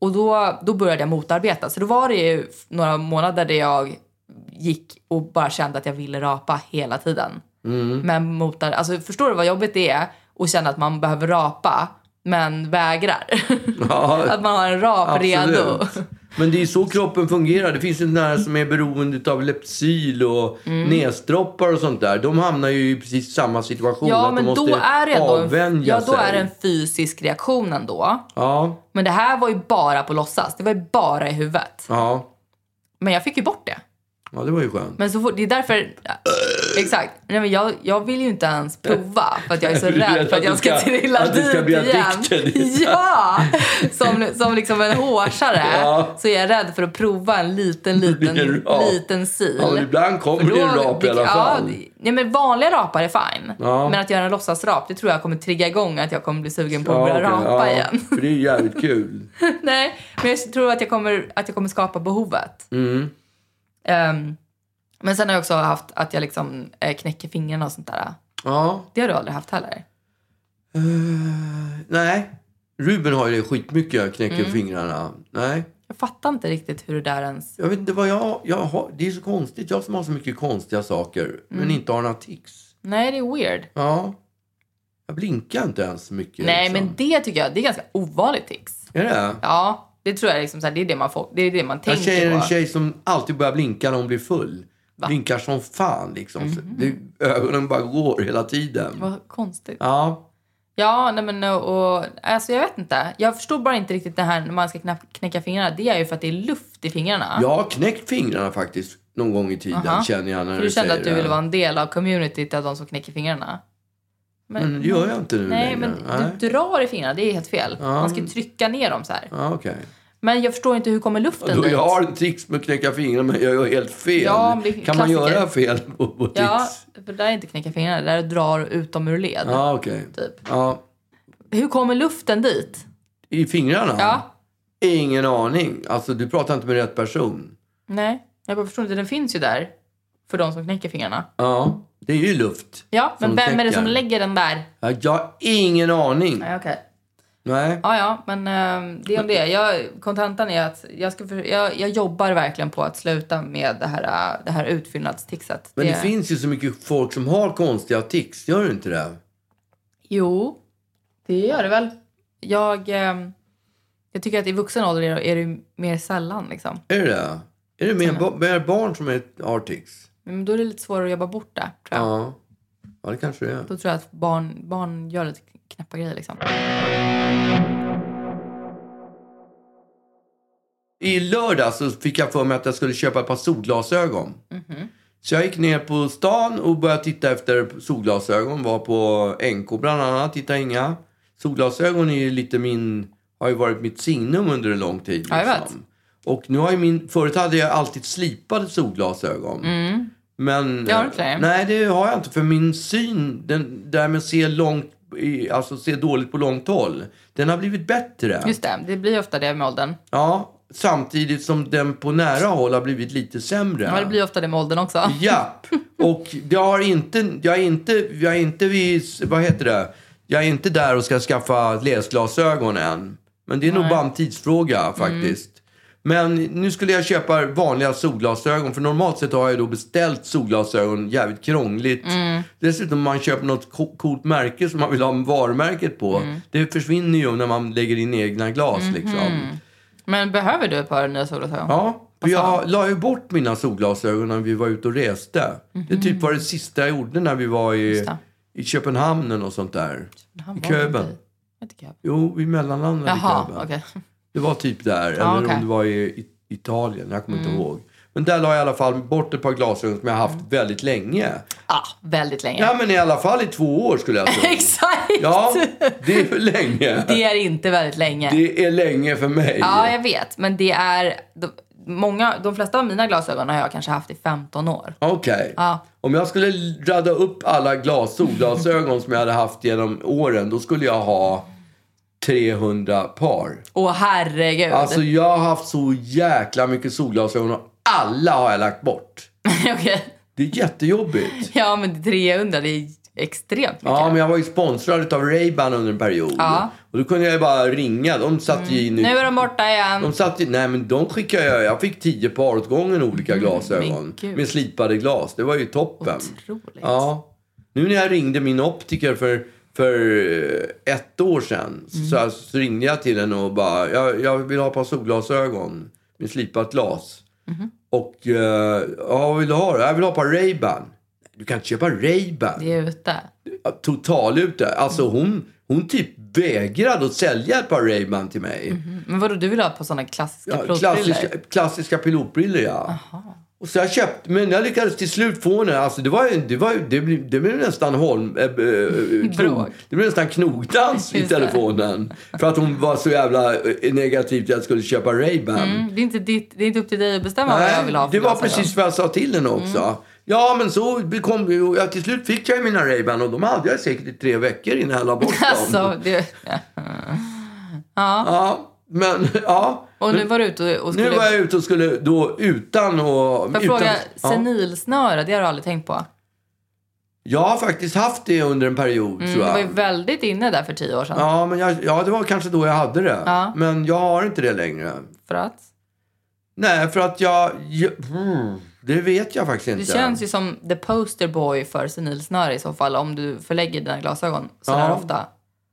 [SPEAKER 2] Och då, då började jag motarbeta. Så då var det ju f- några månader där jag gick och bara kände att jag ville rapa hela tiden.
[SPEAKER 3] Mm.
[SPEAKER 2] Men motar, alltså förstår du vad jobbigt det är? Och känna att man behöver rapa, men vägrar.
[SPEAKER 3] Ja,
[SPEAKER 2] att man har en rap redo.
[SPEAKER 3] absolut. Men det är så kroppen fungerar. Det finns ju den här som är beroende utav Lepsyl och
[SPEAKER 2] Mm.
[SPEAKER 3] näsdroppar och sånt där. De hamnar ju i precis samma situation.
[SPEAKER 2] Ja,
[SPEAKER 3] att
[SPEAKER 2] men
[SPEAKER 3] de måste
[SPEAKER 2] då är det ändå en,
[SPEAKER 3] avvänja
[SPEAKER 2] ja, då
[SPEAKER 3] sig.
[SPEAKER 2] är det en fysisk reaktion ändå.
[SPEAKER 3] Ja,
[SPEAKER 2] Men det här var ju bara på låtsas. Det var ju bara i huvudet.
[SPEAKER 3] ja.
[SPEAKER 2] Men jag fick ju bort det.
[SPEAKER 3] Ja, det var ju skönt.
[SPEAKER 2] Men så fort, det är därför...
[SPEAKER 3] Äh.
[SPEAKER 2] Exakt. Nej, men jag, jag vill ju inte ens prova för att jag är så
[SPEAKER 3] Du är
[SPEAKER 2] rädd för att jag ska trilla
[SPEAKER 3] att du
[SPEAKER 2] dit
[SPEAKER 3] ska bli addicted.
[SPEAKER 2] igen. Ja! Som, som liksom en hårsare
[SPEAKER 3] Ja.
[SPEAKER 2] så är jag rädd för att prova en liten,
[SPEAKER 3] blir
[SPEAKER 2] liten,
[SPEAKER 3] en rap.
[SPEAKER 2] liten sil.
[SPEAKER 3] Ja, men ibland kommer det en
[SPEAKER 2] Då-
[SPEAKER 3] rap i alla
[SPEAKER 2] ja,
[SPEAKER 3] fall.
[SPEAKER 2] det- nej, men vanliga rapar är fine.
[SPEAKER 3] Ja.
[SPEAKER 2] Men att göra en låtsasrap, det tror jag kommer trigga igång att jag kommer bli sugen på att
[SPEAKER 3] Ja,
[SPEAKER 2] börja
[SPEAKER 3] okej.
[SPEAKER 2] rapa
[SPEAKER 3] Ja,
[SPEAKER 2] igen.
[SPEAKER 3] För det är ju jävligt kul.
[SPEAKER 2] Nej, men jag tror att jag kommer, att jag kommer skapa behovet.
[SPEAKER 3] Mm.
[SPEAKER 2] Ehm, men sen har jag också haft att jag liksom eh, knäcker fingrarna och sånt där.
[SPEAKER 3] Ja.
[SPEAKER 2] Det har du aldrig haft heller.
[SPEAKER 3] Nej. Ruben har ju det skitmycket, knäcker
[SPEAKER 2] Mm.
[SPEAKER 3] fingrarna. Nej.
[SPEAKER 2] Jag fattar inte riktigt hur det där ens...
[SPEAKER 3] Jag vet inte vad jag, jag har. Det är så konstigt. Jag som har så mycket konstiga saker, men
[SPEAKER 2] Mm.
[SPEAKER 3] inte har några tics.
[SPEAKER 2] Nej, det är weird.
[SPEAKER 3] Ja. Jag blinkar inte ens så mycket.
[SPEAKER 2] Nej,
[SPEAKER 3] liksom.
[SPEAKER 2] men det tycker jag det är ganska ovanligt tics.
[SPEAKER 3] Är det?
[SPEAKER 2] Ja, Det tror jag liksom, så här, det är det man, får, det är det man
[SPEAKER 3] En tjej
[SPEAKER 2] tänker
[SPEAKER 3] är en
[SPEAKER 2] på.
[SPEAKER 3] tjej som alltid börjar blinka när hon blir full. Blinkar som fan liksom.
[SPEAKER 2] Mhm.
[SPEAKER 3] Det, ögonen bara går hela tiden.
[SPEAKER 2] Vad konstigt.
[SPEAKER 3] Ja,
[SPEAKER 2] Ja, nej men och, och, alltså jag vet inte. Jag förstår bara inte riktigt det här när man ska knä- knäcka fingrarna. Det är ju för att det är luft i fingrarna.
[SPEAKER 3] jag har knäckt fingrarna faktiskt någon gång i tiden
[SPEAKER 2] Aha.
[SPEAKER 3] känner jag när
[SPEAKER 2] för
[SPEAKER 3] du
[SPEAKER 2] du kände
[SPEAKER 3] säger
[SPEAKER 2] att du
[SPEAKER 3] det.
[SPEAKER 2] ville vara en del av communityt av de som knäcker fingrarna.
[SPEAKER 3] Men det gör jag inte nu
[SPEAKER 2] Nej,
[SPEAKER 3] längre.
[SPEAKER 2] men du drar i fingrarna. Det är helt fel. Man ska ju trycka ner dem så här.
[SPEAKER 3] Ja, okej.
[SPEAKER 2] Men jag förstår inte hur kommer luften
[SPEAKER 3] Då
[SPEAKER 2] dit?
[SPEAKER 3] jag har en trix med att knäcka fingrarna men jag gör helt fel.
[SPEAKER 2] Ja, men det är
[SPEAKER 3] kan man
[SPEAKER 2] klassiker.
[SPEAKER 3] göra fel på, på tricks?
[SPEAKER 2] Ja, för där är inte knäcka fingrarna. Där drar ut dem ur led.
[SPEAKER 3] Ja, okej.
[SPEAKER 2] Typ.
[SPEAKER 3] Ja.
[SPEAKER 2] Hur kommer luften dit?
[SPEAKER 3] I fingrarna?
[SPEAKER 2] Ja.
[SPEAKER 3] Ingen aning. Alltså, du pratar inte med rätt person.
[SPEAKER 2] Nej, jag bara förstår inte. Den finns ju där. För de som knäcker fingrarna.
[SPEAKER 3] Ja, det är ju luft.
[SPEAKER 2] Ja, men
[SPEAKER 3] Som
[SPEAKER 2] vem är det
[SPEAKER 3] knäcker.
[SPEAKER 2] som lägger den där?
[SPEAKER 3] Ja, Jag har ingen aning.
[SPEAKER 2] Nej, okej.
[SPEAKER 3] Nej.
[SPEAKER 2] Ja, ja, men eh, det är om det. Jag, kontentan är att jag, ska för, jag, jag jobbar verkligen på att sluta med det här, eh, det här utfyllnadstixet.
[SPEAKER 3] Men det finns ju så mycket folk som har konstiga tics. Gör det inte det?
[SPEAKER 2] Jo, det gör det väl. Jag, eh, jag tycker att i vuxen ålder är det, är det mer sällan. Liksom.
[SPEAKER 3] Är det det? Är det mer, ba- mer barn som är, har tics?
[SPEAKER 2] Men då är det lite svårare att jobba bort det. Tror jag.
[SPEAKER 3] Ja. Ja, det kanske det är.
[SPEAKER 2] Då tror jag att barn, barn gör lite knäppa grejer. Liksom.
[SPEAKER 3] I lördag så fick jag för mig att jag skulle köpa ett par solglasögon.
[SPEAKER 2] Mhm.
[SPEAKER 3] Så jag gick ner på stan och började titta efter solglasögon. Var på NK bland annat, hittade inga. Solglasögon är ju lite min, har ju varit mitt signum under en lång tid. liksom.
[SPEAKER 2] Ja, jag vet.
[SPEAKER 3] Och nu har ju min, förut hade jag alltid slipade solglasögon. Men,
[SPEAKER 2] Mm. Det har du inte längre.
[SPEAKER 3] Nej, det har jag inte. För min syn, den där med att se långt, i- alltså se dåligt på långt håll, den har blivit bättre.
[SPEAKER 2] Just det, det blir ofta det med åldern.
[SPEAKER 3] Ja, samtidigt som den på nära håll har blivit lite sämre.
[SPEAKER 2] Ja, det blir ofta det med åldern också.
[SPEAKER 3] Japp. Och jag har inte, jag är inte, jag är inte vid, vad heter det? Jag är inte där och ska skaffa läsglasögon än. Men det är nog bara en tidsfråga
[SPEAKER 2] Mm.
[SPEAKER 3] faktiskt. Men nu skulle jag köpa vanliga solglasögon. För normalt sett har jag då beställt solglasögon jävligt krångligt.
[SPEAKER 2] Mm.
[SPEAKER 3] Dessutom om man köper något co- coolt märke som man vill ha varumärket på.
[SPEAKER 2] Mm.
[SPEAKER 3] Det försvinner ju när man lägger in egna glas
[SPEAKER 2] Mhm.
[SPEAKER 3] liksom.
[SPEAKER 2] Men behöver du ett par nya solglasögon?
[SPEAKER 3] Ja, för jag la ju bort mina solglasögon när vi var ute och reste. Det typ var det sista jag gjorde när vi var i,
[SPEAKER 2] Mhm. det.
[SPEAKER 3] i Köpenhamn och sånt där.
[SPEAKER 2] Han
[SPEAKER 3] I
[SPEAKER 2] var inte
[SPEAKER 3] Köben.
[SPEAKER 2] i- inte i Köben.
[SPEAKER 3] Jo, vi mellanlandade i
[SPEAKER 2] Jaha,
[SPEAKER 3] Köben.
[SPEAKER 2] okej.
[SPEAKER 3] Det var typ där, eller
[SPEAKER 2] Ja, okej. Mm.
[SPEAKER 3] om det var i i- Italien, jag kommer inte ihåg. Men där la jag i alla fall bort ett par glasögon som jag haft väldigt länge.
[SPEAKER 2] Ah, väldigt länge.
[SPEAKER 3] Ja, men i alla fall i två år skulle jag tro.
[SPEAKER 2] Exakt!
[SPEAKER 3] Ja, det är för länge.
[SPEAKER 2] Det är inte väldigt länge.
[SPEAKER 3] Det är länge för mig.
[SPEAKER 2] Ja, jag vet. Men det är... De, många, de flesta av mina glasögon har jag kanske haft i 15 år.
[SPEAKER 3] Okej.
[SPEAKER 2] Ja.
[SPEAKER 3] Om jag skulle radda upp alla glas, solglasögon som jag hade haft genom åren, då skulle jag ha 300 par.
[SPEAKER 2] Åh herregud.
[SPEAKER 3] Alltså jag har haft så jäkla mycket solglasögon och alla har jag lagt bort.
[SPEAKER 2] Okej.
[SPEAKER 3] Det är jättejobbigt.
[SPEAKER 2] Ja, men 300, det är extremt mycket.
[SPEAKER 3] Ja, men jag var ju sponsrad av Ray-Ban under en period.
[SPEAKER 2] Ja. Mm.
[SPEAKER 3] Och då kunde jag ju bara ringa. De satt ju in...
[SPEAKER 2] Nu är de borta igen.
[SPEAKER 3] De satt i, nej men de skickade jag, jag fick tio par åt gången olika glasögon.
[SPEAKER 2] Mm, gud.
[SPEAKER 3] Med slipade glas, det var ju toppen.
[SPEAKER 2] Otroligt.
[SPEAKER 3] Ja. Nu när jag ringde min optiker för, för eh, ett år sedan så, alltså, så ringde jag till henne och bara, jag, jag vill ha ett par solglasögon med slipat glas. Och, eh, ja vad vill du ha då? Jag vill ha ett par Ray-Ban. Du kan inte köpa Ray-Ban
[SPEAKER 2] Det är ute.
[SPEAKER 3] total ute. Alltså hon, hon typ vägrade att sälja ett par Ray-Ban till mig.
[SPEAKER 2] Men vadå, du vill ha ett par sådana klassiska
[SPEAKER 3] Ja,
[SPEAKER 2] plåtbrillor?
[SPEAKER 3] klassiska, klassiska pilotbrillor, ja. Och så jag köpte, men jag lyckades till slut få henne. Alltså det var ju, det var ju, det blev, det blev nästan Holm... Äh, äh,
[SPEAKER 2] Bråk.
[SPEAKER 3] knog, det blev nästan knogdans i
[SPEAKER 2] Just det.
[SPEAKER 3] telefonen. För att hon var så jävla eh, negativ till att jag skulle köpa Ray-Ban.
[SPEAKER 2] Mm, det, är inte ditt, det är inte upp till dig att bestämma vad jag vill ha alltså. Mm. för
[SPEAKER 3] det var
[SPEAKER 2] glasögon.
[SPEAKER 3] precis vad jag sa till henne också. Ja, men så kom ju... Ja, till slut fick jag ju mina Ray-Ban och de hade jag säkert i tre veckor innan jag la bort dem.
[SPEAKER 2] Alltså, det,
[SPEAKER 3] Ja, men ja.
[SPEAKER 2] och nu var du ute och skulle...
[SPEAKER 3] Nu var jag ute och skulle då utan och...
[SPEAKER 2] Får jag
[SPEAKER 3] utan,
[SPEAKER 2] fråga,
[SPEAKER 3] ja.
[SPEAKER 2] senilsnöre, det har du aldrig tänkt på?
[SPEAKER 3] Jag har faktiskt haft det under en period,
[SPEAKER 2] Mm,
[SPEAKER 3] tror
[SPEAKER 2] det var ju
[SPEAKER 3] jag.
[SPEAKER 2] väldigt inne där för tio år sedan.
[SPEAKER 3] Ja, men jag, ja, det var kanske då jag hade det.
[SPEAKER 2] Ja.
[SPEAKER 3] Men jag har inte det längre.
[SPEAKER 2] För att
[SPEAKER 3] Nej, för att jag... jag mm, det vet jag faktiskt
[SPEAKER 2] du
[SPEAKER 3] inte.
[SPEAKER 2] känns ju som the poster boy för senilsnöre i så fall om du förlägger dina glasögon sådär
[SPEAKER 3] Ja.
[SPEAKER 2] ofta.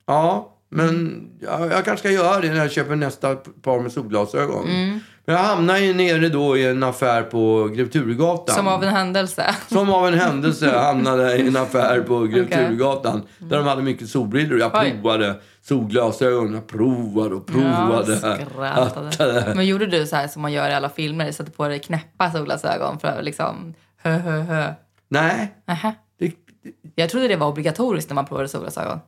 [SPEAKER 3] Ja, Men jag, jag kanske ska göra det när jag köper nästa par med solglasögon.
[SPEAKER 2] Mm.
[SPEAKER 3] Men jag hamnar ju nere då i en affär på Grev Turegatan.
[SPEAKER 2] Som av en händelse.
[SPEAKER 3] Som av en händelse hamnade jag i en affär på Grev
[SPEAKER 2] Okej. Mm.
[SPEAKER 3] Turegatan. Där de hade mycket solbrillor. Jag
[SPEAKER 2] Oj.
[SPEAKER 3] provade solglasögon. Jag provade och provade.
[SPEAKER 2] skrattade. Men gjorde du så här som man gör i alla filmer, satte på dig knäppa solglasögon för att liksom hö hö hö.
[SPEAKER 3] Nej.
[SPEAKER 2] Nähä.
[SPEAKER 3] Det, det-
[SPEAKER 2] Jag trodde det var obligatoriskt när man provade solglasögon.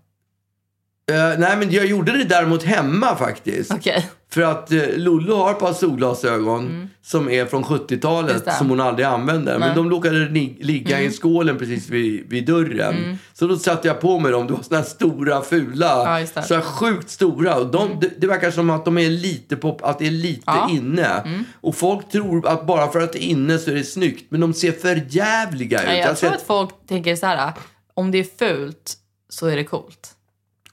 [SPEAKER 3] eh, nej, men jag gjorde det däremot hemma faktiskt.
[SPEAKER 2] Okej. Mm.
[SPEAKER 3] För att eh, Lollo har ett par solglasögon som är från
[SPEAKER 2] Just det. Mm.
[SPEAKER 3] 70-talet som hon aldrig använder. Men de råkade ni- ligga i skålen precis vid, vid dörren. Så då satte jag på mig dem. Det var såna här stora
[SPEAKER 2] Ja,
[SPEAKER 3] fula.
[SPEAKER 2] just det. Mm.
[SPEAKER 3] så här sjukt stora. Och de, det, det verkar som att de är lite pop, att det är lite
[SPEAKER 2] Ja. Mm.
[SPEAKER 3] inne. Och folk tror att bara för att det är inne så är det snyggt. Men de ser för jävliga ut.
[SPEAKER 2] Nej,
[SPEAKER 3] Jag har
[SPEAKER 2] Jag tror
[SPEAKER 3] sett-
[SPEAKER 2] att folk tänker så här, om det är fult så är det coolt.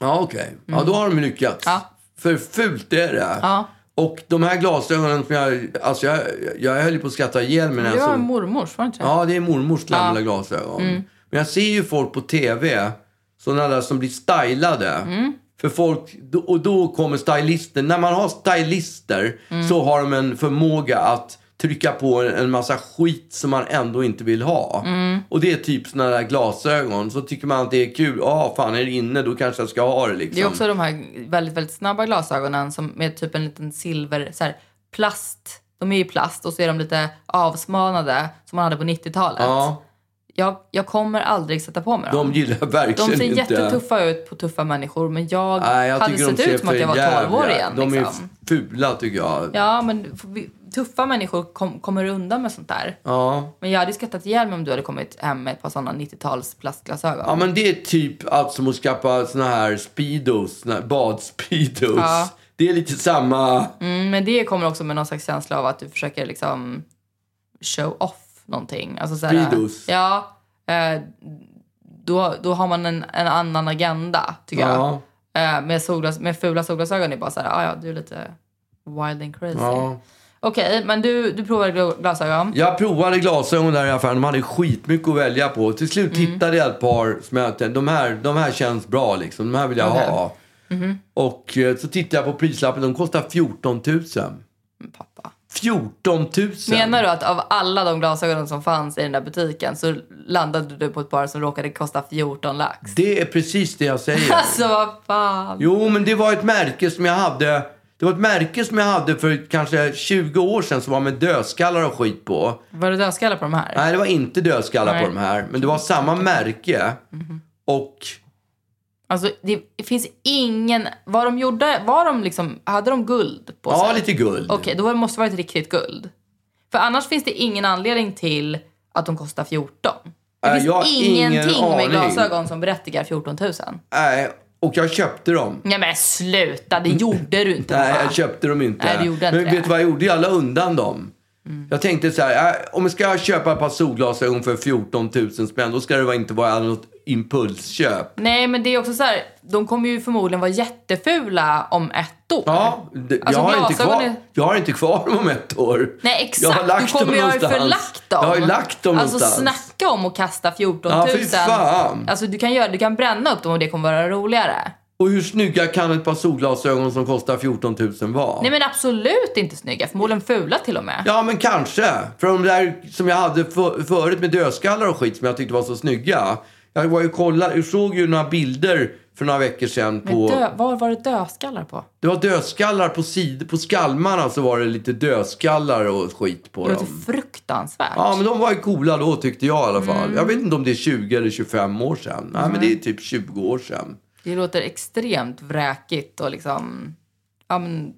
[SPEAKER 3] Ja, okej. Ja, då har de lyckats.
[SPEAKER 2] Ja.
[SPEAKER 3] För fult är det.
[SPEAKER 2] Ja.
[SPEAKER 3] Och de här glasögonen som jag... Alltså jag, jag höll ju på att skratta ihjäl mig när
[SPEAKER 2] Det
[SPEAKER 3] jag
[SPEAKER 2] var
[SPEAKER 3] såg...
[SPEAKER 2] mormors, var det inte det?
[SPEAKER 3] Ja, det är mormors gamla
[SPEAKER 2] Ja. Mm.
[SPEAKER 3] glasögon. Men jag ser ju folk på TV, sådana där som blir stylade.
[SPEAKER 2] Mm.
[SPEAKER 3] För folk, och då kommer stylisten. När man har stylister
[SPEAKER 2] Mm.
[SPEAKER 3] så har de en förmåga att trycka på en massa skit som man ändå inte vill ha.
[SPEAKER 2] Mm.
[SPEAKER 3] Och det är typ sådana där glasögon. Så tycker man att det är kul. Ja, fan är det inne då kanske jag ska ha det liksom.
[SPEAKER 2] Det är också de här väldigt, väldigt snabba glasögonen som med typ en liten silver, så här, plast. De är ju plast och så är de lite avsmalnade som man hade på 90-talet.
[SPEAKER 3] Ja,
[SPEAKER 2] Jag, jag kommer aldrig sätta på mig dem.
[SPEAKER 3] de gillar verkligen
[SPEAKER 2] De ser
[SPEAKER 3] inte...
[SPEAKER 2] jättetuffa ut på tuffa människor men jag,
[SPEAKER 3] Nej, jag
[SPEAKER 2] hade
[SPEAKER 3] tycker de
[SPEAKER 2] sett
[SPEAKER 3] ser
[SPEAKER 2] ut som att
[SPEAKER 3] för
[SPEAKER 2] jag var 12
[SPEAKER 3] jävliga.
[SPEAKER 2] år igen.
[SPEAKER 3] De är
[SPEAKER 2] liksom.
[SPEAKER 3] fula tycker jag.
[SPEAKER 2] Ja, men vi- tuffa människor kom, kommer undan med sånt där.
[SPEAKER 3] Ja.
[SPEAKER 2] Men jag hade ju skrattat ihjäl mig om du hade kommit hem med ett par sådana 90-tals plastglasögon.
[SPEAKER 3] Ja men det är typ allt som att skaffa såna här speedos, såna här badspeedos.
[SPEAKER 2] Ja.
[SPEAKER 3] Det är lite samma.
[SPEAKER 2] Mm, men det kommer också med någon slags känsla av att du försöker liksom show off någonting. Alltså såhär,
[SPEAKER 3] Speedos.
[SPEAKER 2] Ja. Eh, då, då har man en, en annan agenda, tycker
[SPEAKER 3] Ja.
[SPEAKER 2] jag. Eh, med, solglas, med fula solglasögon är bara såhär, ah, ja, du är lite wild and crazy.
[SPEAKER 3] Ja.
[SPEAKER 2] Okej, men du, du provade gl- glasögon.
[SPEAKER 3] Jag provade glasögon där i affären. De hade skitmycket att välja på. Till slut
[SPEAKER 2] Mm.
[SPEAKER 3] hittade jag ett par som jag tänkte, de här, de här känns bra liksom. De här vill jag ha.
[SPEAKER 2] Mm-hmm.
[SPEAKER 3] Och eh, så tittade jag på prislappen. De kostar 14 000.
[SPEAKER 2] Men Pappa.
[SPEAKER 3] 14 000!
[SPEAKER 2] Menar du att av alla de glasögonen som fanns i den där butiken så landade du på ett par som råkade kosta 14 lax?
[SPEAKER 3] Det är precis det jag säger.
[SPEAKER 2] Alltså vad fan.
[SPEAKER 3] Jo, men det var ett märke som jag hade. Det var ett märke som jag hade för kanske 20 år sedan som var med dödskallar och skit på.
[SPEAKER 2] Var det dödskallar på de här?
[SPEAKER 3] Nej, det var inte dödskallar
[SPEAKER 2] Nej.
[SPEAKER 3] på de här. Men det var samma märke. Och
[SPEAKER 2] Alltså det finns ingen... Var de gjorda... Var de liksom... Hade de guld på sig?
[SPEAKER 3] ja, lite guld.
[SPEAKER 2] Okej, då måste det varit riktigt guld. För annars finns det ingen anledning till att de kostar 14. Det
[SPEAKER 3] Äh,
[SPEAKER 2] finns
[SPEAKER 3] jag har ingen
[SPEAKER 2] ingenting
[SPEAKER 3] aning.
[SPEAKER 2] med glasögon som berättigar 14 000.
[SPEAKER 3] Nej, och jag köpte dem.
[SPEAKER 2] Nej men sluta, det gjorde du inte.
[SPEAKER 3] Nej,
[SPEAKER 2] va?
[SPEAKER 3] jag köpte dem inte.
[SPEAKER 2] Nej, du gjorde inte
[SPEAKER 3] men vet
[SPEAKER 2] det. Mm.
[SPEAKER 3] du vad jag gjorde? Jag la undan dem. Jag tänkte så här, äh, om jag ska köpa ett par solglasögon för 14 000 spänn, då ska det inte vara något impulsköp.
[SPEAKER 2] Nej men det är också så här, de kommer ju förmodligen vara jättefula om ett år.
[SPEAKER 3] Ja, det,
[SPEAKER 2] Alltså,
[SPEAKER 3] jag, har inte
[SPEAKER 2] glasögon
[SPEAKER 3] kvar,
[SPEAKER 2] är-
[SPEAKER 3] jag har inte kvar dem om ett år.
[SPEAKER 2] Nej
[SPEAKER 3] Jag
[SPEAKER 2] exakt,
[SPEAKER 3] har lagt
[SPEAKER 2] du kommer
[SPEAKER 3] dem
[SPEAKER 2] ju ha
[SPEAKER 3] någonstans.
[SPEAKER 2] förlagt dem.
[SPEAKER 3] Jag har ju lagt dem
[SPEAKER 2] Alltså
[SPEAKER 3] någonstans.
[SPEAKER 2] snacka om att kasta 14 000.
[SPEAKER 3] Ja, fy fan.
[SPEAKER 2] Alltså du kan, göra, du kan bränna upp dem och det kommer vara roligare.
[SPEAKER 3] Och hur snygga kan ett par solglasögon som kostar 14 000 vara?
[SPEAKER 2] Nej men absolut inte snygga, förmodligen fula till och med.
[SPEAKER 3] Ja, men kanske. För de där som jag hade för, förut med dödskallar och skit som jag tyckte var så snygga. Jag var ju kolla, jag såg ju några bilder för några veckor sedan
[SPEAKER 2] Men
[SPEAKER 3] på...
[SPEAKER 2] dö, var var det dödskallar på?
[SPEAKER 3] Det var dödskallar på sid, på skalmarna så var det lite dödskallar och skit på
[SPEAKER 2] Det
[SPEAKER 3] dem.
[SPEAKER 2] låter fruktansvärt.
[SPEAKER 3] Ja, men de var ju coola då tyckte jag i alla fall.
[SPEAKER 2] Mm.
[SPEAKER 3] Jag vet inte om det är 20 eller 25 år sedan. Nej, men det är typ 20 år sedan.
[SPEAKER 2] Det låter extremt vräkigt och liksom, ja men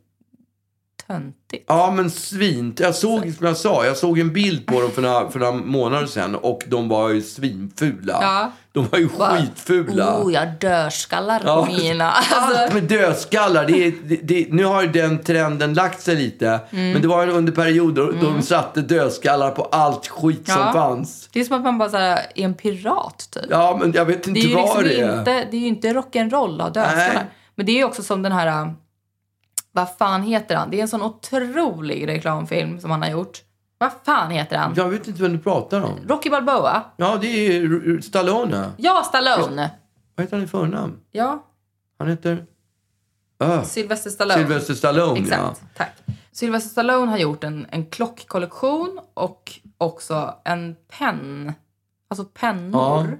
[SPEAKER 2] töntigt.
[SPEAKER 3] Ja, men svint. Jag såg, som jag sa, jag såg en bild på dem för några, för några månader sedan och de var ju svinfula.
[SPEAKER 2] Ja.
[SPEAKER 3] De var ju
[SPEAKER 2] Bara,
[SPEAKER 3] skitfula.
[SPEAKER 2] Oh, jag dödskallar på
[SPEAKER 3] Ja.
[SPEAKER 2] mina. Alltså,
[SPEAKER 3] Allt med dödskallar. Det är, det, det, nu har ju den trenden lagt sig lite.
[SPEAKER 2] Mm.
[SPEAKER 3] Men det var en under period då, då de satte dödskallar på allt skit som
[SPEAKER 2] Ja.
[SPEAKER 3] fanns.
[SPEAKER 2] det är som att man bara så här, är en pirat typ.
[SPEAKER 3] Ja, men jag vet
[SPEAKER 2] Det
[SPEAKER 3] inte
[SPEAKER 2] är ju
[SPEAKER 3] vad
[SPEAKER 2] liksom
[SPEAKER 3] det är.
[SPEAKER 2] inte, det är ju inte rock'n'roll att ha dödskallar.
[SPEAKER 3] Nej.
[SPEAKER 2] Men det är ju också som den här, äh, vad fan heter han? Det är en sån otrolig reklamfilm som han har gjort. Vad fan heter han?
[SPEAKER 3] Jag vet inte vem du pratar om.
[SPEAKER 2] Rocky Balboa?
[SPEAKER 3] Ja, det är ju Stallone.
[SPEAKER 2] Ja, Stallone!
[SPEAKER 3] Vad heter han i förnamn?
[SPEAKER 2] Ja,
[SPEAKER 3] Han heter... Ah,
[SPEAKER 2] Sylvester Stallone.
[SPEAKER 3] Sylvester Stallone,
[SPEAKER 2] Exakt,
[SPEAKER 3] ja.
[SPEAKER 2] tack. Sylvester Stallone har gjort en, en klockkollektion och också en penn. Alltså pennor
[SPEAKER 3] Ja.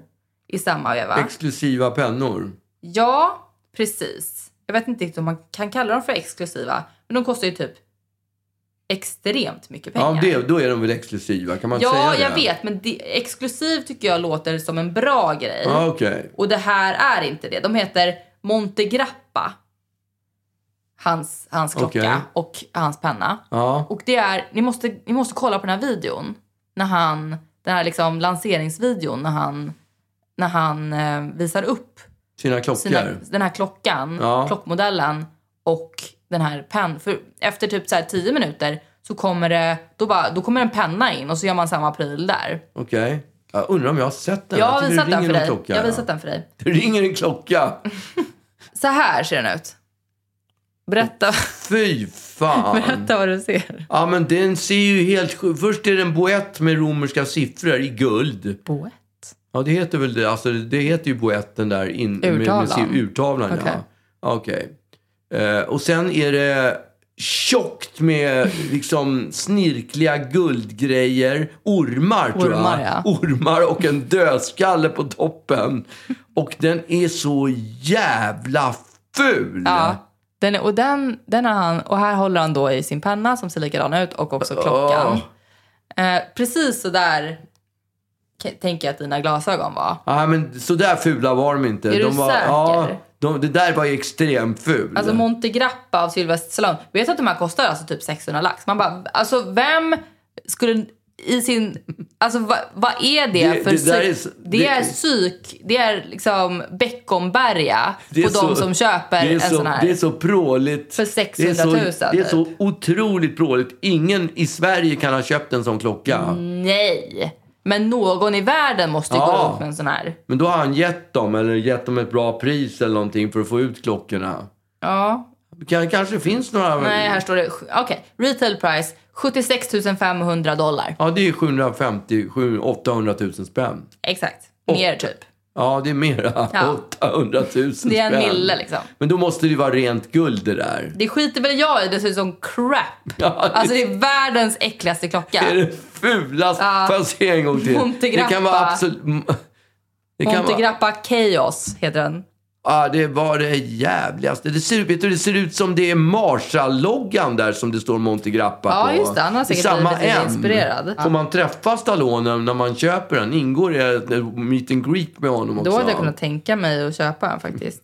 [SPEAKER 2] i samma veva.
[SPEAKER 3] Exklusiva pennor.
[SPEAKER 2] ja, precis. Jag vet inte riktigt om man kan kalla dem för exklusiva. Men de kostar ju typ extremt mycket pengar.
[SPEAKER 3] Ja, det, då är de väl exklusiva? Kan man
[SPEAKER 2] ja
[SPEAKER 3] säga det?
[SPEAKER 2] jag vet. Men det, exklusiv tycker jag låter som en bra grej.
[SPEAKER 3] Ja, okej.
[SPEAKER 2] Och det här är inte det. De heter Montegrappa. Hans, hans klocka
[SPEAKER 3] Okej.
[SPEAKER 2] och hans penna.
[SPEAKER 3] Ja.
[SPEAKER 2] Och det är, ni måste, ni måste kolla på den här videon. När han, den här liksom lanseringsvideon när han, när han eh, visar upp
[SPEAKER 3] Sina klockor.
[SPEAKER 2] sina, den här klockan,
[SPEAKER 3] Ja.
[SPEAKER 2] klockmodellen och den här pennan. För efter typ så här 10 minuter så kommer det, då, bara, då kommer en penna in och så gör man samma pryl där.
[SPEAKER 3] Okej. Jag undrar om jag har sett den.
[SPEAKER 2] Jag har
[SPEAKER 3] tycker det
[SPEAKER 2] visat den
[SPEAKER 3] ringer
[SPEAKER 2] för
[SPEAKER 3] en
[SPEAKER 2] dig.
[SPEAKER 3] Klocka,
[SPEAKER 2] jag har
[SPEAKER 3] ja.
[SPEAKER 2] visat den för dig.
[SPEAKER 3] Det ringer en klocka.
[SPEAKER 2] Så här ser den ut. Berätta,
[SPEAKER 3] Fy fan.
[SPEAKER 2] berätta vad du ser.
[SPEAKER 3] Ja, men den ser ju helt sjuk. Först är det en boett med romerska siffror i guld.
[SPEAKER 2] Boett.
[SPEAKER 3] Ja, det heter väl det. Alltså, det heter ju boetten där. In, med- Med,
[SPEAKER 2] Urtavlan.
[SPEAKER 3] sin- urtavlan,
[SPEAKER 2] Okej.
[SPEAKER 3] ja. Okej. Eh, och sen är det tjockt med liksom snirkliga guldgrejer. Ormar, tror jag.
[SPEAKER 2] Ormar, ja.
[SPEAKER 3] Ormar och en dödskalle på toppen. Och den är så jävla ful!
[SPEAKER 2] Ja. Den är, och, den, den har han, och här håller han då i sin penna som ser likadan ut och också klockan. Eh, precis så där k- tänker jag att dina glasögon var.
[SPEAKER 3] Ja, men så där fula var de inte.
[SPEAKER 2] Är
[SPEAKER 3] de
[SPEAKER 2] du
[SPEAKER 3] var,
[SPEAKER 2] säker?
[SPEAKER 3] Ja, de, det där var ju extremt ful.
[SPEAKER 2] Alltså Montegrappa av Sylvester Stallone. Vet du att de här kostar alltså typ 600 lax? Man bara, alltså vem skulle i sin... Alltså vad, vad är det,
[SPEAKER 3] Det-
[SPEAKER 2] för
[SPEAKER 3] det där
[SPEAKER 2] psyk-
[SPEAKER 3] är s-
[SPEAKER 2] det,
[SPEAKER 3] det-
[SPEAKER 2] är psyk, det är liksom Beckomberga
[SPEAKER 3] Det är
[SPEAKER 2] på de
[SPEAKER 3] så-
[SPEAKER 2] som köper
[SPEAKER 3] det är
[SPEAKER 2] en
[SPEAKER 3] så,
[SPEAKER 2] sån här.
[SPEAKER 3] Det är så pråligt.
[SPEAKER 2] För 600 000
[SPEAKER 3] Det är så, det är
[SPEAKER 2] typ.
[SPEAKER 3] så otroligt pråligt. Ingen i Sverige kan ha köpt en sån klocka.
[SPEAKER 2] Mm. Nej! Men någon i världen måste ju
[SPEAKER 3] Ja.
[SPEAKER 2] gå runt med en sån här.
[SPEAKER 3] Men då har han gett dem, eller gett dem ett bra pris eller någonting för att få ut klockorna.
[SPEAKER 2] Ja.
[SPEAKER 3] Kan, kanske finns några...
[SPEAKER 2] Nej, här står det... Okej. Retail price 76 500 dollar.
[SPEAKER 3] Ja, det är 750 700 800 000 spänn.
[SPEAKER 2] Exakt. Mer typ.
[SPEAKER 3] Ja, det är mera.
[SPEAKER 2] Ja.
[SPEAKER 3] 800 000 spänn.
[SPEAKER 2] Det är en mille liksom.
[SPEAKER 3] Men då måste det ju vara rent guld det där.
[SPEAKER 2] Det skiter väl jag i. Det ser ut som crap.
[SPEAKER 3] Ja, det-
[SPEAKER 2] Alltså det är världens äckligaste klocka.
[SPEAKER 3] Det är det fulaste... Får jag se en gång till?
[SPEAKER 2] Montegrappa.
[SPEAKER 3] Det kan vara absolut... Det kan vara...
[SPEAKER 2] Montegrappa Chaos heter den.
[SPEAKER 3] Ja, det var det jävligaste. Det ser, vet du, det ser ut som det är Marshall-loggan där som det står Montegrappa
[SPEAKER 2] Ja,
[SPEAKER 3] på.
[SPEAKER 2] just det. Han har
[SPEAKER 3] I
[SPEAKER 2] säkert
[SPEAKER 3] samma
[SPEAKER 2] blivit lite
[SPEAKER 3] M.
[SPEAKER 2] inspirerad.
[SPEAKER 3] Får man träffa Stallone när man köper den? Ingår det ett meet and greet med honom också?
[SPEAKER 2] Då hade jag kunnat tänka mig att köpa en faktiskt.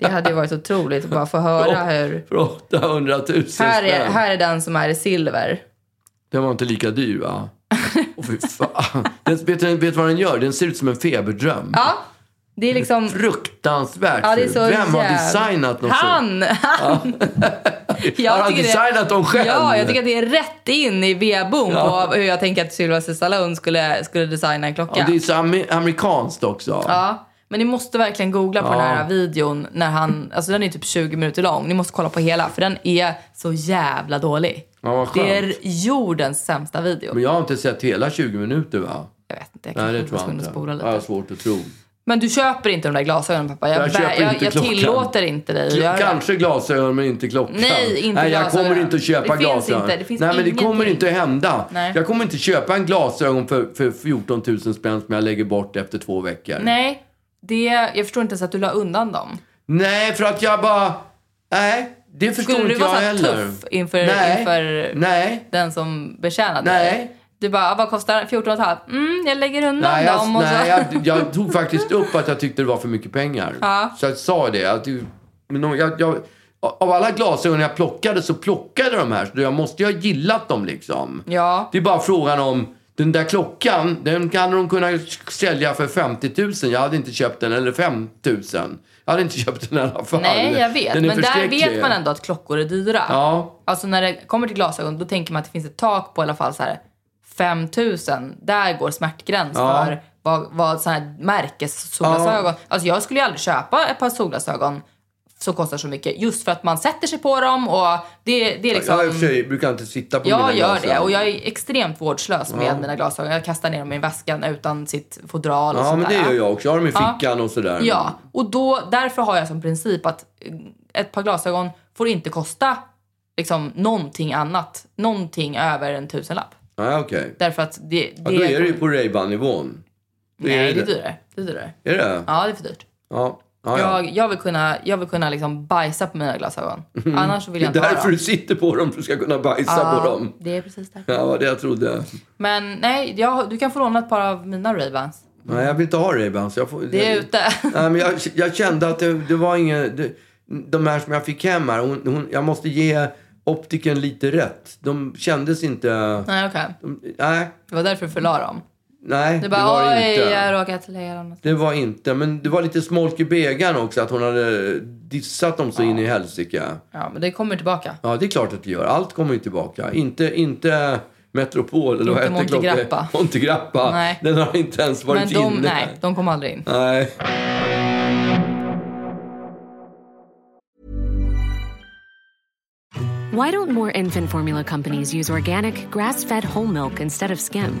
[SPEAKER 2] Det hade ju varit otroligt att bara få höra hur...
[SPEAKER 3] För 800 000
[SPEAKER 2] Här är,
[SPEAKER 3] spänn.
[SPEAKER 2] här är den som är i silver.
[SPEAKER 3] Den var inte lika dyr, va? Åh, fy fan. Den, vet, du, vet du vad den gör? Den ser ut som en feberdröm.
[SPEAKER 2] Ja, det är
[SPEAKER 3] Mm.
[SPEAKER 2] liksom...
[SPEAKER 3] Fruktansvärt
[SPEAKER 2] Ja, det är
[SPEAKER 3] ful.
[SPEAKER 2] så
[SPEAKER 3] Vem har
[SPEAKER 2] jävla-
[SPEAKER 3] designat något så?
[SPEAKER 2] Han! Han! Jag
[SPEAKER 3] Har han
[SPEAKER 2] tycker det-
[SPEAKER 3] designat dem själv?
[SPEAKER 2] Ja, jag tycker att det är rätt in i vedbon
[SPEAKER 3] Ja.
[SPEAKER 2] på hur jag tänker att Sylvester Stallone skulle, skulle designa en klocka.
[SPEAKER 3] Ja, det är så amer- amerikanskt också.
[SPEAKER 2] Ja, men ni måste verkligen googla på den här
[SPEAKER 3] Ja.
[SPEAKER 2] videon när han, alltså den är typ 20 minuter lång. Ni måste kolla på hela för den är så jävla dålig.
[SPEAKER 3] Ja, vad
[SPEAKER 2] det är
[SPEAKER 3] skönt.
[SPEAKER 2] jordens sämsta video.
[SPEAKER 3] Men jag har inte sett hela 20 minuter va?
[SPEAKER 2] Jag vet inte, jag
[SPEAKER 3] Nej, det
[SPEAKER 2] kanske var
[SPEAKER 3] tror jag
[SPEAKER 2] tvungen att
[SPEAKER 3] inte.
[SPEAKER 2] spola
[SPEAKER 3] Jag har
[SPEAKER 2] lite.
[SPEAKER 3] svårt att tro.
[SPEAKER 2] Men du köper inte de där glasögonen pappa. Jag,
[SPEAKER 3] Jag
[SPEAKER 2] bä-
[SPEAKER 3] köper
[SPEAKER 2] jag,
[SPEAKER 3] inte
[SPEAKER 2] jag
[SPEAKER 3] klockan.
[SPEAKER 2] tillåter inte dig att göra det.
[SPEAKER 3] Kanske glasögon men inte klockan.
[SPEAKER 2] Nej, inte
[SPEAKER 3] Nej, jag
[SPEAKER 2] glasögon.
[SPEAKER 3] kommer inte att köpa
[SPEAKER 2] Det finns
[SPEAKER 3] glasögon.
[SPEAKER 2] inte, det finns
[SPEAKER 3] Nej, men det kommer
[SPEAKER 2] ingenting.
[SPEAKER 3] inte att hända.
[SPEAKER 2] Nej.
[SPEAKER 3] Jag kommer inte köpa en glasögon för, för 14 000 spänn som jag lägger bort efter två veckor.
[SPEAKER 2] Nej, det, jag förstår inte ens att du la undan dem.
[SPEAKER 3] Nej, för att jag bara... Nej, det förstår
[SPEAKER 2] Skulle du
[SPEAKER 3] inte jag
[SPEAKER 2] vara så här
[SPEAKER 3] heller.
[SPEAKER 2] tuff inför,
[SPEAKER 3] Nej.
[SPEAKER 2] inför
[SPEAKER 3] Nej.
[SPEAKER 2] den som betjänade
[SPEAKER 3] Nej.
[SPEAKER 2] dig? Du bara, "Ah, vad kostar den? 14 och ett halvt? Mm, jag lägger undan
[SPEAKER 3] Nej, jag,
[SPEAKER 2] dem. Och så.
[SPEAKER 3] nej jag, jag tog faktiskt upp att jag tyckte det var för mycket pengar. Så jag sa det. Att, det- men om jag, jag, av alla glasögon jag plockade så plockade jag de här. Så jag måste ju ha gillat dem liksom.
[SPEAKER 2] Ja.
[SPEAKER 3] Det är bara frågan om den där klockan, den kan de kunna sälja för 50 000. Jag hade inte köpt den, eller 5 000. Jag hade inte köpt den i alla fall.
[SPEAKER 2] Nej, jag vet.
[SPEAKER 3] Den är
[SPEAKER 2] Men där
[SPEAKER 3] förskräcklig.
[SPEAKER 2] vet man ändå att klockor är dyra.
[SPEAKER 3] Ja,
[SPEAKER 2] Alltså när det kommer till glasögon då tänker man att det finns ett tak på i alla fall så här 5000. Där går smärtgräns
[SPEAKER 3] Ja.
[SPEAKER 2] för vad, vad sådana här märkessolglasögon. Alltså jag skulle ju aldrig köpa ett par solglasögon som kostar så mycket. Just för att man sätter sig på dem och det, det är liksom...
[SPEAKER 3] jag i och för sig brukar inte sitta på mina
[SPEAKER 2] Jag gör
[SPEAKER 3] glasögon.
[SPEAKER 2] det och jag är extremt vårdslös med mina glasögon. Jag kastar ner dem i väskan utan sitt fodral och
[SPEAKER 3] Ja,
[SPEAKER 2] sånt
[SPEAKER 3] men det
[SPEAKER 2] där.
[SPEAKER 3] Mm. gör jag också. Jag har dem i fickan och sådär.
[SPEAKER 2] Ja, och då, därför har jag som princip att eh, ett par glasögon får inte kosta liksom, någonting annat. Någonting över en tusenlapp.
[SPEAKER 3] Ah, okej.
[SPEAKER 2] Därför att det... det
[SPEAKER 3] Ja, då är det ju på Ray-Ban-nivån. Då
[SPEAKER 2] Nej,
[SPEAKER 3] är
[SPEAKER 2] det är
[SPEAKER 3] det.
[SPEAKER 2] dyrare. Det är dyrare.
[SPEAKER 3] Är det?
[SPEAKER 2] Ja, det är för dyrt.
[SPEAKER 3] Ja. Ja, ja.
[SPEAKER 2] Jag, jag vill kunna, jag vill kunna liksom bajsa på mina glasögon. Annars så vill
[SPEAKER 3] Mm. Det
[SPEAKER 2] jag
[SPEAKER 3] är
[SPEAKER 2] inte ha
[SPEAKER 3] därför
[SPEAKER 2] dem.
[SPEAKER 3] du sitter på dem, för du ska kunna bajsa på dem.
[SPEAKER 2] Det är precis därför.
[SPEAKER 3] Ja, det var det jag trodde.
[SPEAKER 2] Men nej, jag, du kan få låna ett par av mina Ray-Bans.
[SPEAKER 3] Nej, jag vill inte ha Ray-Ban. så jag får-
[SPEAKER 2] Det är
[SPEAKER 3] jag-
[SPEAKER 2] ute.
[SPEAKER 3] Nej, men jag, jag kände att det, det var ingen... Det, de här som jag fick hem här, hon, hon, jag måste ge optiken lite rätt. De kändes inte...
[SPEAKER 2] nej, okej.
[SPEAKER 3] de- Nej,
[SPEAKER 2] Det var därför du förla dem.
[SPEAKER 3] nej
[SPEAKER 2] Du
[SPEAKER 3] det
[SPEAKER 2] bara,
[SPEAKER 3] var det
[SPEAKER 2] oj, jag har
[SPEAKER 3] inte.
[SPEAKER 2] råkat lägga dem.
[SPEAKER 3] Det var inte, men det var lite smolk i bägaren också att hon hade dissat dem så in i helsike.
[SPEAKER 2] Ja, men det kommer tillbaka.
[SPEAKER 3] Ja, det är klart att det gör. Allt kommer ju tillbaka. Inte, inte Metropol eller vad
[SPEAKER 2] Inte
[SPEAKER 3] heter klockan?
[SPEAKER 2] Monte Grappa.
[SPEAKER 3] Monte Grappa.
[SPEAKER 2] Nej.
[SPEAKER 3] Den har inte ens varit
[SPEAKER 2] Men de,
[SPEAKER 3] inne.
[SPEAKER 2] nej, de kommer aldrig in.
[SPEAKER 3] nej.
[SPEAKER 6] Why don't more infant formula companies use organic, grass fed whole milk instead of skim?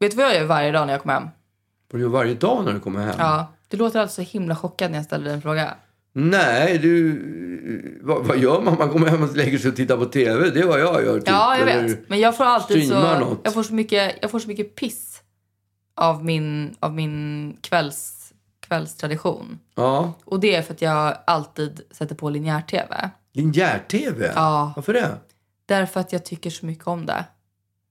[SPEAKER 2] Vet du vad jag gör varje dag när jag kommer hem?
[SPEAKER 3] Var det varje dag när du kommer hem?
[SPEAKER 2] Ja. Du låter alltså så himla chockad när jag ställer dig en fråga.
[SPEAKER 3] Nej, du... Vad, vad gör man? Man kommer hem och lägger sig och tittar på TV. Det är vad jag gör. Typ.
[SPEAKER 2] Ja, jag
[SPEAKER 3] Eller-
[SPEAKER 2] vet. Men jag får alltid så,
[SPEAKER 3] streamar något.
[SPEAKER 2] jag får så, mycket, jag får så mycket piss av min, av min kvälls, kvällstradition.
[SPEAKER 3] Ja.
[SPEAKER 2] Och det är för att jag alltid sätter på linjär-tv.
[SPEAKER 3] Linjär-TV?
[SPEAKER 2] Ja.
[SPEAKER 3] Varför det?
[SPEAKER 2] Därför att jag tycker så mycket om det.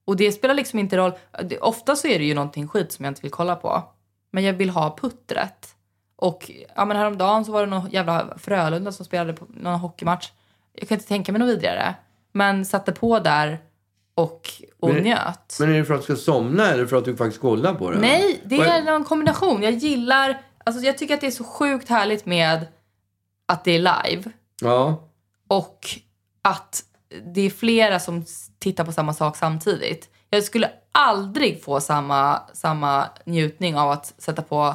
[SPEAKER 2] Och det spelar liksom inte roll. det- Ofta så är det ju någonting skit som jag inte vill kolla på. Men jag vill ha puttret. Och ja, men häromdagen så var det någon jävla Frölunda som spelade på någon hockeymatch. Jag kan inte tänka mig något vidrigare. Men satte på där och, och
[SPEAKER 3] Men-
[SPEAKER 2] njöt.
[SPEAKER 3] Men är det för att du ska somna eller för att du faktiskt kollar på det?
[SPEAKER 2] Nej, det
[SPEAKER 3] Vad-
[SPEAKER 2] är någon kombination. Jag gillar, alltså jag tycker att det är så sjukt härligt med att det är live
[SPEAKER 3] Ja.
[SPEAKER 2] och att det är flera som s- tittar på samma sak samtidigt. Jag skulle aldrig få samma, samma njutning av att sätta på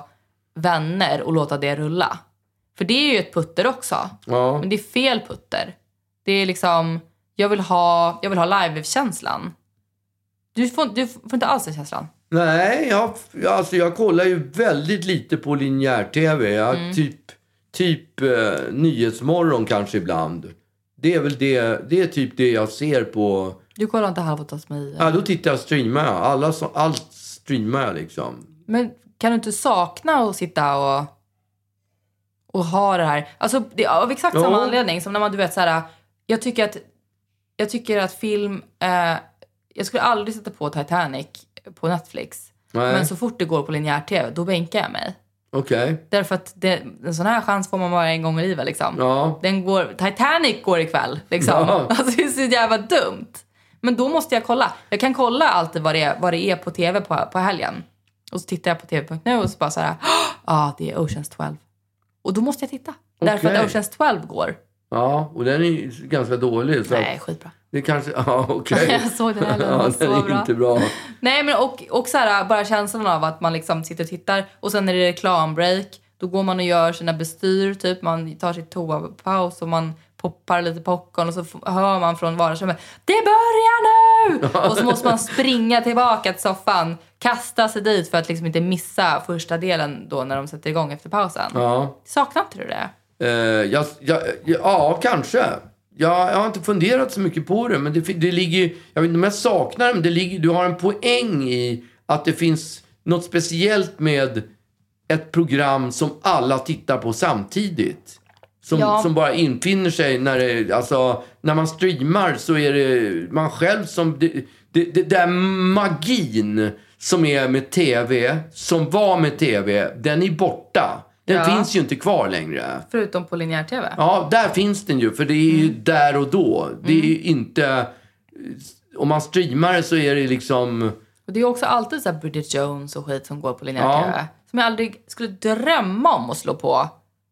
[SPEAKER 2] vänner och låta det rulla. För det är ju ett putter också.
[SPEAKER 3] Ja.
[SPEAKER 2] Men det är fel putter. Det är liksom, jag vill ha, jag vill ha live-känslan. Du får, du får inte alls den känslan.
[SPEAKER 3] Nej, jag, alltså jag kollar ju väldigt lite på linjär-tv. Jag,
[SPEAKER 2] Mm.
[SPEAKER 3] Typ, typ eh, Nyhetsmorgon kanske ibland. Det är väl det, det är typ det jag ser på...
[SPEAKER 2] Du kollar inte Halv åt oss med i, eller?
[SPEAKER 3] Ja, då tittar jag streamar jag. Alla, som- allt streamar jag liksom.
[SPEAKER 2] Men kan du inte sakna att sitta och, och ha det här? Alltså det är av exakt samma
[SPEAKER 3] Jo.
[SPEAKER 2] anledning som när man du vet så här. Jag tycker att, jag tycker att film, eh, jag skulle aldrig sätta på Titanic på Netflix.
[SPEAKER 3] Nej.
[SPEAKER 2] Men så fort det går på linjär tv, då bänkar jag mig.
[SPEAKER 3] Okej.
[SPEAKER 2] Därför att det, en sån här chans får man bara en gång i livet liksom.
[SPEAKER 3] Ja.
[SPEAKER 2] Den går, Titanic går ikväll liksom.
[SPEAKER 3] Ja.
[SPEAKER 2] Alltså det är så jävla dumt. Men då måste jag kolla. Jag kan kolla alltid vad det är, vad det är på tv på, på helgen. Och så tittar jag på tv.nu och så bara så här, ja ah, det är Oceans 12. Och då måste jag titta. Därför att
[SPEAKER 3] Okej.
[SPEAKER 2] Oceans 12 går.
[SPEAKER 3] Ja, och den är ju ganska dålig. Så
[SPEAKER 2] Nej,
[SPEAKER 3] Nej.
[SPEAKER 2] skitbra.
[SPEAKER 3] Det kanske... Ja, okej.
[SPEAKER 2] Jag såg den här, den var
[SPEAKER 3] ja,
[SPEAKER 2] så
[SPEAKER 3] den är
[SPEAKER 2] bra.
[SPEAKER 3] inte bra.
[SPEAKER 2] Nej men och, och så här, bara känslan av att man liksom sitter och tittar och sen är det reklambreak. Då går man och gör sina bestyr, typ man tar sitt toapaus och man poppar lite popcorn och så f- hör man från vardagsrummet Det börjar nu! Och så måste man springa tillbaka till soffan, kasta sig dit för att liksom inte missa första delen då när de sätter igång efter pausen.
[SPEAKER 3] Ja.
[SPEAKER 2] Saknar inte du det?
[SPEAKER 3] Eh, jag, jag, ja, kanske. Jag, jag har inte funderat så mycket på det, men det, fin- det ligger ju- Jag vet inte om jag saknar det, men det ligger, du har en poäng i att det finns något speciellt med ett program som alla tittar på samtidigt. Som,
[SPEAKER 2] Ja.
[SPEAKER 3] som bara infinner sig när det, alltså, när man streamar så är det man själv som... Det, det, det där magin som är med tv, som var med tv, den är borta. Den
[SPEAKER 2] Ja.
[SPEAKER 3] finns ju inte kvar längre.
[SPEAKER 2] Förutom på linjär-tv.
[SPEAKER 3] Ja, där finns den ju. För det är ju
[SPEAKER 2] Mm.
[SPEAKER 3] där och då. Det är ju inte... Om man streamar det så är det liksom...
[SPEAKER 2] Och det är också alltid så här Bridget Jones och skit som går på
[SPEAKER 3] Ja.
[SPEAKER 2] linjär-tv. Som jag aldrig skulle drömma om att slå på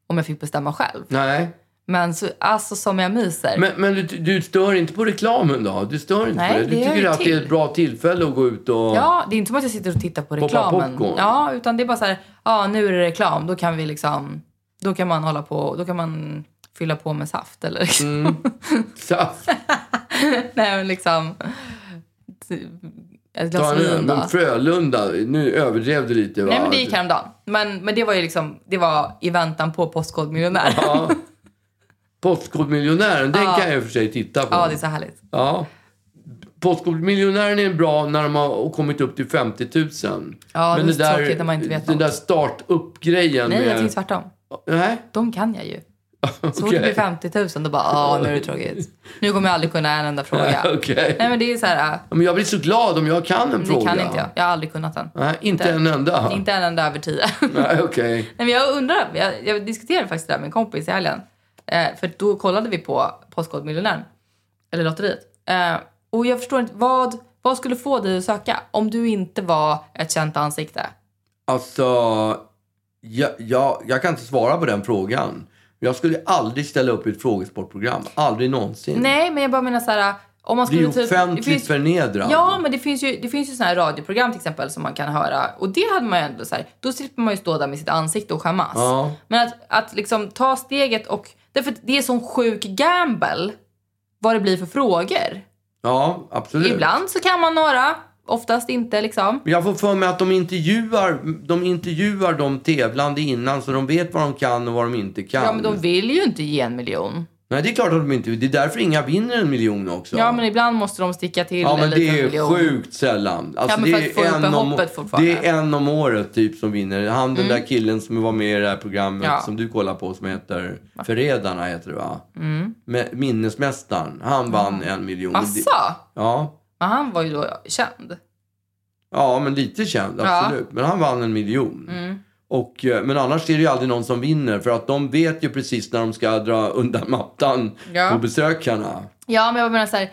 [SPEAKER 2] om jag fick bestämma själv.
[SPEAKER 3] Nej.
[SPEAKER 2] Men så, alltså som jag myser.
[SPEAKER 3] Men, men du, du stör inte på reklamen då? Du stör inte
[SPEAKER 2] Nej,
[SPEAKER 3] på det? Du
[SPEAKER 2] det gör
[SPEAKER 3] tycker
[SPEAKER 2] jag
[SPEAKER 3] att det
[SPEAKER 2] till.
[SPEAKER 3] är ett bra tillfälle att gå ut och...
[SPEAKER 2] Ja, det är inte som att jag sitter och tittar på
[SPEAKER 3] Poppa
[SPEAKER 2] reklamen.
[SPEAKER 3] popcorn.
[SPEAKER 2] Ja, utan det är bara så här, ja nu är det reklam, då kan vi liksom, då kan man hålla på, då kan man fylla på med saft eller liksom.
[SPEAKER 3] Mm. Saft.
[SPEAKER 2] Nej men liksom, typ, ett
[SPEAKER 3] Ta
[SPEAKER 2] glas
[SPEAKER 3] en öl.
[SPEAKER 2] vin då.
[SPEAKER 3] Men Frölunda, nu överdrev du lite va?
[SPEAKER 2] Nej men det gick häromdagen. Men, men det var ju liksom, det var i väntan på Postkodmiljonär. Ja.
[SPEAKER 3] Ja. Postkodmiljonären, den kan jag i och för sig titta på.
[SPEAKER 2] ja, det är så härligt.
[SPEAKER 3] Ja. Postkodmiljonären är bra när de har kommit upp till 50 000.
[SPEAKER 2] Ja, det är så tråkigt när man inte vet
[SPEAKER 3] den
[SPEAKER 2] om.
[SPEAKER 3] där startup-grejen.
[SPEAKER 2] Nej,
[SPEAKER 3] med...
[SPEAKER 2] jag tycker tvärtom.
[SPEAKER 3] Nej,
[SPEAKER 2] De kan jag ju. Så fort
[SPEAKER 3] okej.
[SPEAKER 2] det blir 50 000 då bara, ja nu är det tråkigt. Nu kommer jag aldrig kunna en enda fråga.
[SPEAKER 3] Okej.
[SPEAKER 2] Nej men det är så här, äh,
[SPEAKER 3] Ja, Men jag blir så glad om jag kan en
[SPEAKER 2] det
[SPEAKER 3] fråga.
[SPEAKER 2] kan inte jag. Jag har aldrig kunnat den.
[SPEAKER 3] Nej, inte en enda.
[SPEAKER 2] Inte en enda över tio.
[SPEAKER 3] Nej, okej.
[SPEAKER 2] Nej, men jag undrar, jag, jag diskuterade faktiskt det där med en kompis i helgen. Eh, för då kollade vi på Postkodmiljonären, eller lotteriet. Eh, och jag förstår inte, vad, vad skulle få dig att söka om du inte var ett känt ansikte?
[SPEAKER 3] Alltså, jag, jag, jag kan inte svara på den frågan. Jag skulle aldrig ställa upp i ett frågesportprogram. Aldrig någonsin.
[SPEAKER 2] Nej, men jag bara menar så här, om man
[SPEAKER 3] det är ju
[SPEAKER 2] skulle... typ-
[SPEAKER 3] offentligt
[SPEAKER 2] finns-
[SPEAKER 3] förnedrande.
[SPEAKER 2] Ja, men det finns ju, det finns ju såna här radioprogram till exempel som man kan höra. Och det hade man ju ändå så här, då slipper man ju stå där med sitt ansikte och skämmas.
[SPEAKER 3] Ja.
[SPEAKER 2] Men att, att liksom ta steget och... Därför att det är sån sjuk gamble vad det blir för frågor.
[SPEAKER 3] ja, absolut.
[SPEAKER 2] Ibland så kan man några, oftast inte liksom.
[SPEAKER 3] Men Jag får för mig att de intervjuar, de intervjuar de tävlande innan så de vet vad de kan och vad de inte kan.
[SPEAKER 2] Ja men de vill ju inte ge en miljon.
[SPEAKER 3] Nej, det är klart att de inte Det är därför inga vinner en miljon också.
[SPEAKER 2] Ja, men ibland måste de sticka till
[SPEAKER 3] Ja,
[SPEAKER 2] en
[SPEAKER 3] men
[SPEAKER 2] liten
[SPEAKER 3] det är
[SPEAKER 2] miljon.
[SPEAKER 3] sjukt sällan. Alltså,
[SPEAKER 2] Ja, men
[SPEAKER 3] det,
[SPEAKER 2] för att få
[SPEAKER 3] är
[SPEAKER 2] upp
[SPEAKER 3] en om,
[SPEAKER 2] hoppet fortfarande. Mm.
[SPEAKER 3] det är en om året typ som vinner. Han den där killen som var med i det här programmet
[SPEAKER 2] Ja.
[SPEAKER 3] som du kollar på som heter Förrädarna heter det va?
[SPEAKER 2] Mm.
[SPEAKER 3] Med, minnesmästaren. Han vann en miljon. Det-
[SPEAKER 2] Massa!
[SPEAKER 3] Ja.
[SPEAKER 2] Men han var ju då känd.
[SPEAKER 3] ja, men lite känd absolut. Men han vann en miljon.
[SPEAKER 2] Mm.
[SPEAKER 3] Och, eh, men annars är det ju aldrig någon som vinner för att de vet ju precis när de ska dra undan mattan
[SPEAKER 2] Ja.
[SPEAKER 3] på besökarna.
[SPEAKER 2] Ja men jag menar så här,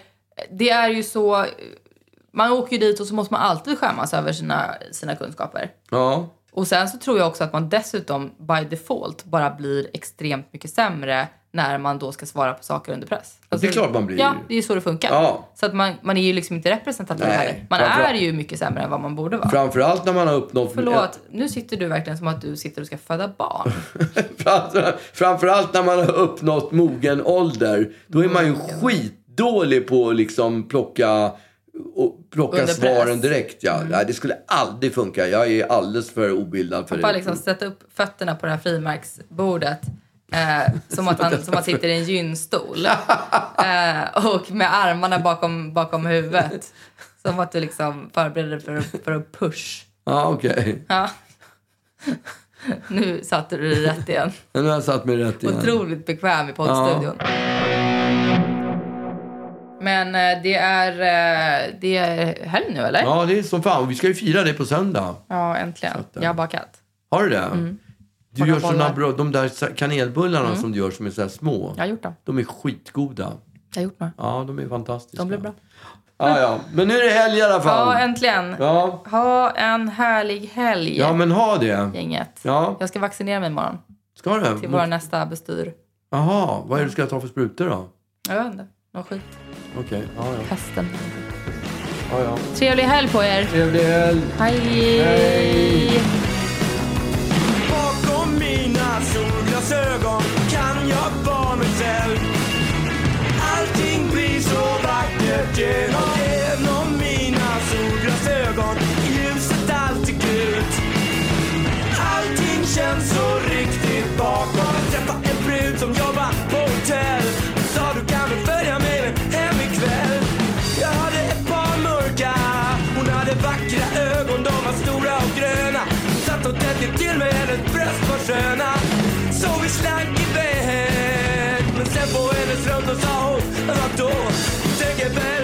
[SPEAKER 2] det är ju så... Man åker ju dit och så måste man alltid skämmas över sina, sina kunskaper.
[SPEAKER 3] Ja.
[SPEAKER 2] Och sen så tror jag också att man dessutom by default bara blir extremt mycket sämre när man då ska svara på saker under press. Alltså,
[SPEAKER 3] det är klart man blir.
[SPEAKER 2] Ja, det är ju så det funkar.
[SPEAKER 3] Ja.
[SPEAKER 2] Så att man, man är ju liksom inte representativ
[SPEAKER 3] Nej,
[SPEAKER 2] heller. Man
[SPEAKER 3] framför-
[SPEAKER 2] är ju mycket sämre än vad man borde vara.
[SPEAKER 3] Framförallt när man har uppnått
[SPEAKER 2] Förlåt, nu sitter du verkligen som att du sitter och ska föda barn.
[SPEAKER 3] Framför- Framförallt när man har uppnått mogen ålder. Då är man
[SPEAKER 2] Mm.
[SPEAKER 3] ju skitdålig på att liksom plocka, och plocka
[SPEAKER 2] Under press. Mm.
[SPEAKER 3] svaren direkt. Ja. Nej, det skulle aldrig funka. Jag är alldeles för obildad för
[SPEAKER 2] Bara
[SPEAKER 3] det.
[SPEAKER 2] liksom sätta upp fötterna på det här frimärksbordet. Eh, som, att han, som att sitter i en gynstol. Eh, och med armarna bakom, bakom huvudet. Som att du liksom förbereder dig för, att- för att push.
[SPEAKER 3] Ja, okej.
[SPEAKER 2] Ja. Nu satte du dig rätt igen.
[SPEAKER 3] Men Nu har jag satt mig rätt igen.
[SPEAKER 2] Otroligt bekväm i poddstudion. Men eh, det är, eh, det är helg nu eller?
[SPEAKER 3] Ja, det är som fan. Vi ska ju fira det på söndag.
[SPEAKER 2] Ja, äntligen.
[SPEAKER 3] eh.
[SPEAKER 2] Jag har bakat.
[SPEAKER 3] Har du det? Du
[SPEAKER 2] Många
[SPEAKER 3] gör såna
[SPEAKER 2] Mm. bollar. Mm.
[SPEAKER 3] bra, de där sa- kanelbullarna som du gör som är så här små.
[SPEAKER 2] Jag har gjort dem.
[SPEAKER 3] De är skitgoda.
[SPEAKER 2] Jag har gjort några.
[SPEAKER 3] Ja, de är fantastiska.
[SPEAKER 2] De blev bra.
[SPEAKER 3] Ja, ja. Men nu är det helg i alla fall.
[SPEAKER 2] Ja, äntligen.
[SPEAKER 3] Ja,
[SPEAKER 2] Ha en härlig helg,
[SPEAKER 3] ja men ha det.
[SPEAKER 2] gänget.
[SPEAKER 3] Ja.
[SPEAKER 2] Jag ska vaccinera mig imorgon
[SPEAKER 3] Ska du?
[SPEAKER 2] till
[SPEAKER 3] Mot-
[SPEAKER 2] vår nästa bestyr.
[SPEAKER 3] Jaha, vad är det du ska ta för sprutor då?
[SPEAKER 2] Jag vet inte. Någon skit.
[SPEAKER 3] Okej, ja, ja.
[SPEAKER 2] Pesten.
[SPEAKER 3] ja, ja.
[SPEAKER 2] Trevlig helg på er.
[SPEAKER 3] Trevlig helg!
[SPEAKER 2] Hej.
[SPEAKER 7] Bakom mina solglasögon kan jag vara mig själv Allting blir så vackert genom, genom mina solglasögon Ljuset alltid gult Allting känns så riktigt bakom Jag träffade en brud som jobbar på hotell Hon sa du kan väl följa med mig hem ikväll Jag hade ett par mörka Hon hade vackra ögon, de var stora och gröna Hon satt och tätt till mig, hennes bröst var sköna Så vi slank iväg Men sen på hennes rum då sa hon, men vad då tänker väl